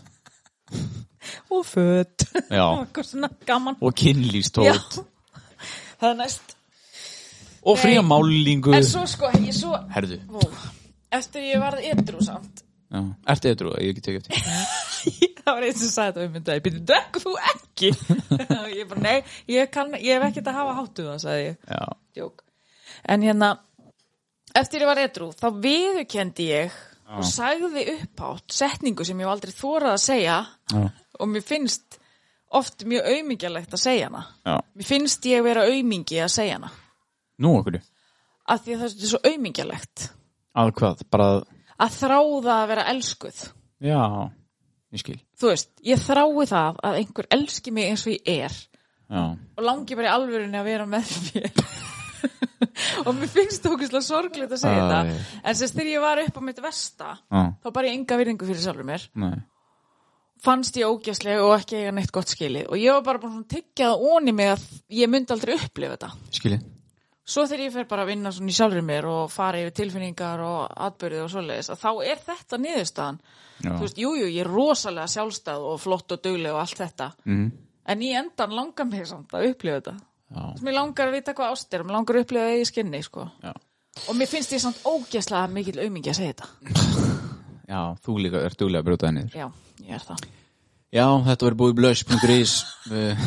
Speaker 2: og föt
Speaker 3: Já.
Speaker 2: eitthvað svona gaman
Speaker 3: og
Speaker 2: Já.
Speaker 3: kynlýstót
Speaker 2: það er næst
Speaker 3: og fría
Speaker 2: Nei.
Speaker 3: málingu
Speaker 2: en svo sko, ég svo
Speaker 3: Herðu,
Speaker 2: Vó. eftir ég varð edru samt
Speaker 3: já, ertu eitthvað, ég hef ekki tekið eftir
Speaker 2: það var einn sem sagði þetta um mynda ég byrði, drekku þú ekki ég bara, nei, ég, kann, ég hef ekkert að hafa hátu það, sagði ég,
Speaker 3: Já,
Speaker 2: djók en hérna, eftir ég var edru þá viðurkendi ég og sagði upphátt setningu sem ég hef aldrei þórað að segja
Speaker 3: já,
Speaker 2: og mér finnst oft mjög aumingjalegt að segja hana
Speaker 3: já
Speaker 2: mér finnst ég vera aumingi að segja hana
Speaker 3: Nú okkur,
Speaker 2: að því að það er svo aumingjalegt
Speaker 3: að hvað, bara að-
Speaker 2: að þráða að vera elskuð
Speaker 3: Já, ég skil
Speaker 2: þú veist, ég þrái það að einhver elski mig eins og ég er
Speaker 3: Já,
Speaker 2: og langi bara í alvörunni að vera með mér og mér finnst það okkur sorglegt að segja
Speaker 3: Æ.
Speaker 2: þetta en sérst þegar ég var upp á mitt versta
Speaker 3: já,
Speaker 2: þá bara ég enga virðingu fyrir sjálfur mér
Speaker 3: nei
Speaker 2: fannst ég ógjastlega og ekki eiga neitt gott skilið og ég var bara búin að tyggja það onni mig að ég myndi aldrei upplifa þetta
Speaker 3: Skilji,
Speaker 2: svo þegar ég fer bara að vinna svona í sjálfur mér og fara yfir tilfinningar og atbyrðið og svoleiðis að þá er þetta niðurstaðan
Speaker 3: Já.
Speaker 2: þú veist, jújú, jú, ég er rosalega sjálfstæð og flott og dugleg og allt þetta
Speaker 3: Mhm.
Speaker 2: mm. en í endan langar mig samt að upplifa þetta
Speaker 3: já,
Speaker 2: mér langar að vita hvað ást er, mér langar að upplifa það í skinni sko.
Speaker 3: já
Speaker 2: og mér finnst ég samt ógjæslega mikill aumingi að segja þetta
Speaker 3: Já, þú líka er duglega að brjóta það niður
Speaker 2: já, ég er það
Speaker 3: Já, þetta var búið blöss.is uh,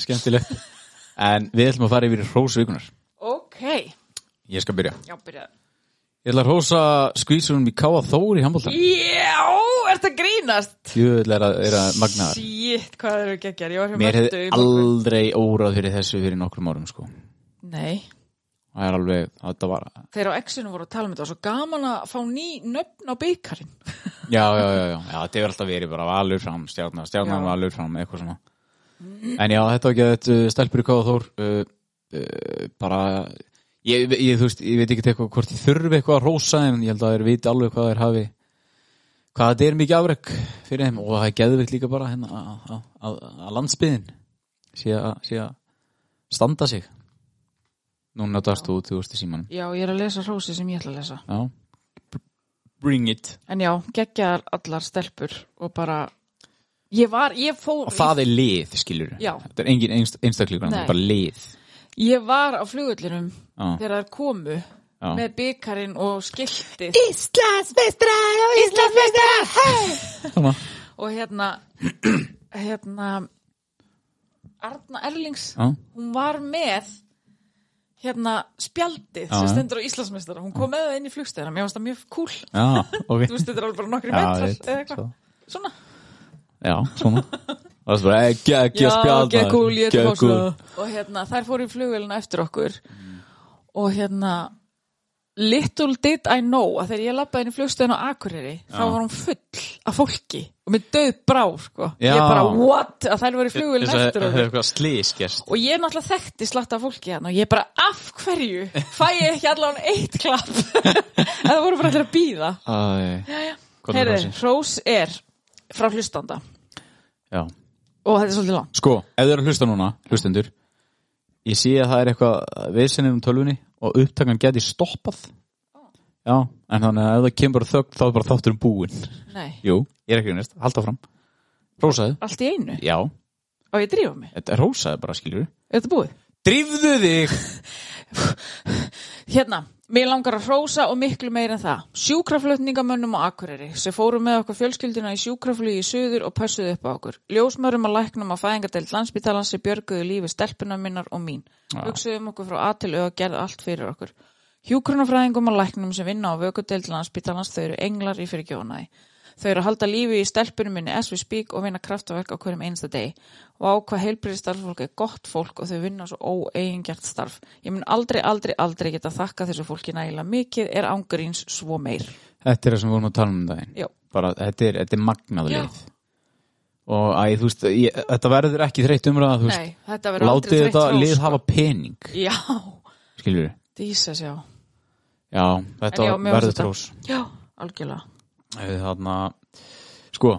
Speaker 3: Skemmtilegt En við ætlum að fara yfir hrósvikunar
Speaker 2: ok,
Speaker 3: Ég skal byrja
Speaker 2: já, byrjaði
Speaker 3: Ég ætla að hrósa skvísunum í Káa Þór í handbóltan
Speaker 2: já, er ert að grínast
Speaker 3: Jöðl er að, er að magnaður
Speaker 2: Sýtt, hvað þeir eru geggjar Ég var hjá
Speaker 3: Mér
Speaker 2: Mögdu
Speaker 3: hefði
Speaker 2: í morgun.
Speaker 3: aldrei órað fyrir þessu fyrir nokkrum árum sko
Speaker 2: Nei,
Speaker 3: Það er alveg, þetta var
Speaker 2: þeir á exinu voru að tala um þetta og svo gaman að fá ný nöfn á byggarinn
Speaker 3: Já, já, já, já, já þetta hefur alltaf verið bara valur fram, stjárna, stjárna
Speaker 2: Já.
Speaker 3: valur fram, eitthvað svona En já, þetta var ekki að þetta stelpur í Káða Þór uh, uh, bara ég, ég, þú veist, ég veit ekki eitthvað hvort ég þurfi eitthvað að rósa þeim, ég held að þeir viti alveg hvað þeir hafi hvað þetta er mikið afrek fyrir þeim og það er geðvikt líka bara hérna að- að- að að landsbyðin sé að sé að standa sig Núna darstu út, þú veist, í símanum
Speaker 2: Já, ég er að lesa hrósi sem ég ætla að lesa
Speaker 3: Já, bring it
Speaker 2: En já, geggjar allar stelpur og bara Ég var, ég fór
Speaker 3: og það er lið, skilur
Speaker 2: Já.
Speaker 3: þetta er engin einst, einstakleikur, það
Speaker 2: Nei.
Speaker 3: er bara lið
Speaker 2: Ég var á flugullinum
Speaker 3: Já.
Speaker 2: þegar þær komu
Speaker 3: Já.
Speaker 2: með byggarinn og skiltið
Speaker 5: Íslandsmeistrar, Íslandsmeistrar, hei!
Speaker 3: Svona.
Speaker 2: og hérna hérna Arna Erlings
Speaker 3: Já.
Speaker 2: hún var með hérna spjaldið sem
Speaker 3: Já.
Speaker 2: stendur á Íslandsmeistara hún kom með það inn í flugstæðina, mér fannst það mjög cool
Speaker 3: já, ok
Speaker 2: þú veist, þetta er alveg bara nokkri
Speaker 3: Já,
Speaker 2: metrar
Speaker 3: veit,
Speaker 2: eða eitthvað,
Speaker 3: svo.
Speaker 2: svona
Speaker 3: já, svona það er bara ekki, ekki að spjálna
Speaker 2: gegg cool, ég ætla að fá svona. og hérna, þær fóru í flugvelina eftir okkur og hérna little did I know að þegar ég lappaði inn í flugstöðin á Akureyri þá var hún full af fólki og með döð brá, sko
Speaker 3: Já.
Speaker 2: ég bara, what, að þær voru í flugvelina
Speaker 3: það
Speaker 2: eftir
Speaker 3: er
Speaker 2: okkur
Speaker 3: eitthvað slískjast
Speaker 2: og ég náttúrulega þekkti slatta af fólki hérna og ég bara, af hverju fæ ég ekki allan eitt klapp en það voru bara allir að býða Heyrðu, hrós er frá hlustanda
Speaker 3: já
Speaker 2: og þetta er svolítið langt
Speaker 3: Sko, ef þið eru að hlusta núna, hlustendur Ég sé að það er eitthvað viðsennið um tölvunni og upptakan geti stoppað Já, en þannig að ef það kemur bara þögn þá er bara þáttur um búin
Speaker 2: Nei,
Speaker 3: Jú, ég er ekki unnist, halda fram Rósaðu,
Speaker 2: allt í einu,
Speaker 3: já,
Speaker 2: og ég drífa mig
Speaker 3: þetta er rósaðu bara skilur
Speaker 2: Er þetta búið?
Speaker 3: Drífðu þig
Speaker 2: Hérna, mér langar að hrósa og miklu meir en það. Sjúkraflutningamönnum á Akureyri sem fóru með okkur fjölskylduna í sjúkraflugi í suður og pössuðu upp á okkur. Ljósmörum að læknum á fæðingadeild landsbytalans sem björguðu lífi stelpuna minnar og mín. Hugsuðum okkur frá A til Ö og gerðu allt fyrir okkur. Hjúkrunafræðingum og læknum sem vinna á vökudeild landsbytalans þau eru englar í fyrirgjónaði. Þau eru að halda lífi í stelpunum minni as we speak og vinna kraftaverk á hverjum einsta degi. Og á hvað heilbrið starffólk er gott fólk og þau vinna svo óeigingjart starf. Ég mun aldrei, aldrei, aldrei geta þakka þessu fólki nægilega mikið er ángurins svo meir.
Speaker 3: Þetta er það sem við vorum að tala um um daginn
Speaker 2: Já.
Speaker 3: bara, þetta, er, þetta er magnað
Speaker 2: Já.
Speaker 3: lið og æ, þú veist, ég, þetta verður ekki þreytt umræða, þú veist
Speaker 2: Nei, þetta verður aldrei
Speaker 3: Látið
Speaker 2: þreytt
Speaker 3: þetta
Speaker 2: hrós,
Speaker 3: lið
Speaker 2: sko.
Speaker 3: hafa pening
Speaker 2: Já,
Speaker 3: skilur við
Speaker 2: dísa sjá.
Speaker 3: Já, þetta
Speaker 2: En já, mér
Speaker 3: verður
Speaker 2: finnst þetta-
Speaker 3: trós
Speaker 2: Já, algjörlega.
Speaker 3: Þannig að, sko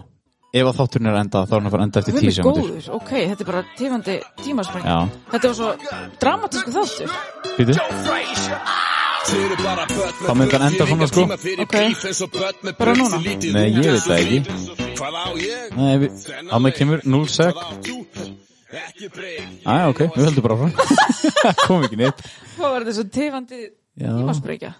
Speaker 3: ef að þátturinn er að enda, þá er hann að fara að enda eftir
Speaker 2: Við
Speaker 3: tíu
Speaker 2: erum
Speaker 3: sekundur
Speaker 2: góður, ok, þetta er bara tífandi tímaspring.
Speaker 3: Já.
Speaker 2: Þetta var svo dramatísku þáttur.
Speaker 3: Býtu?
Speaker 6: Þá
Speaker 3: myndi hann enda svona, sko.
Speaker 2: Ok. Bara núna?
Speaker 3: Nei, ég veit það ekki.
Speaker 6: Hvað á ég?
Speaker 3: Nei, við, hann kemur 0 sek
Speaker 6: Hvað átt þú? Ekki breyk
Speaker 3: Æ, ok, við höldum bara frá Kom ekki neitt
Speaker 2: Hvað var þetta svo tífandi
Speaker 3: Já.
Speaker 2: tímaspringja?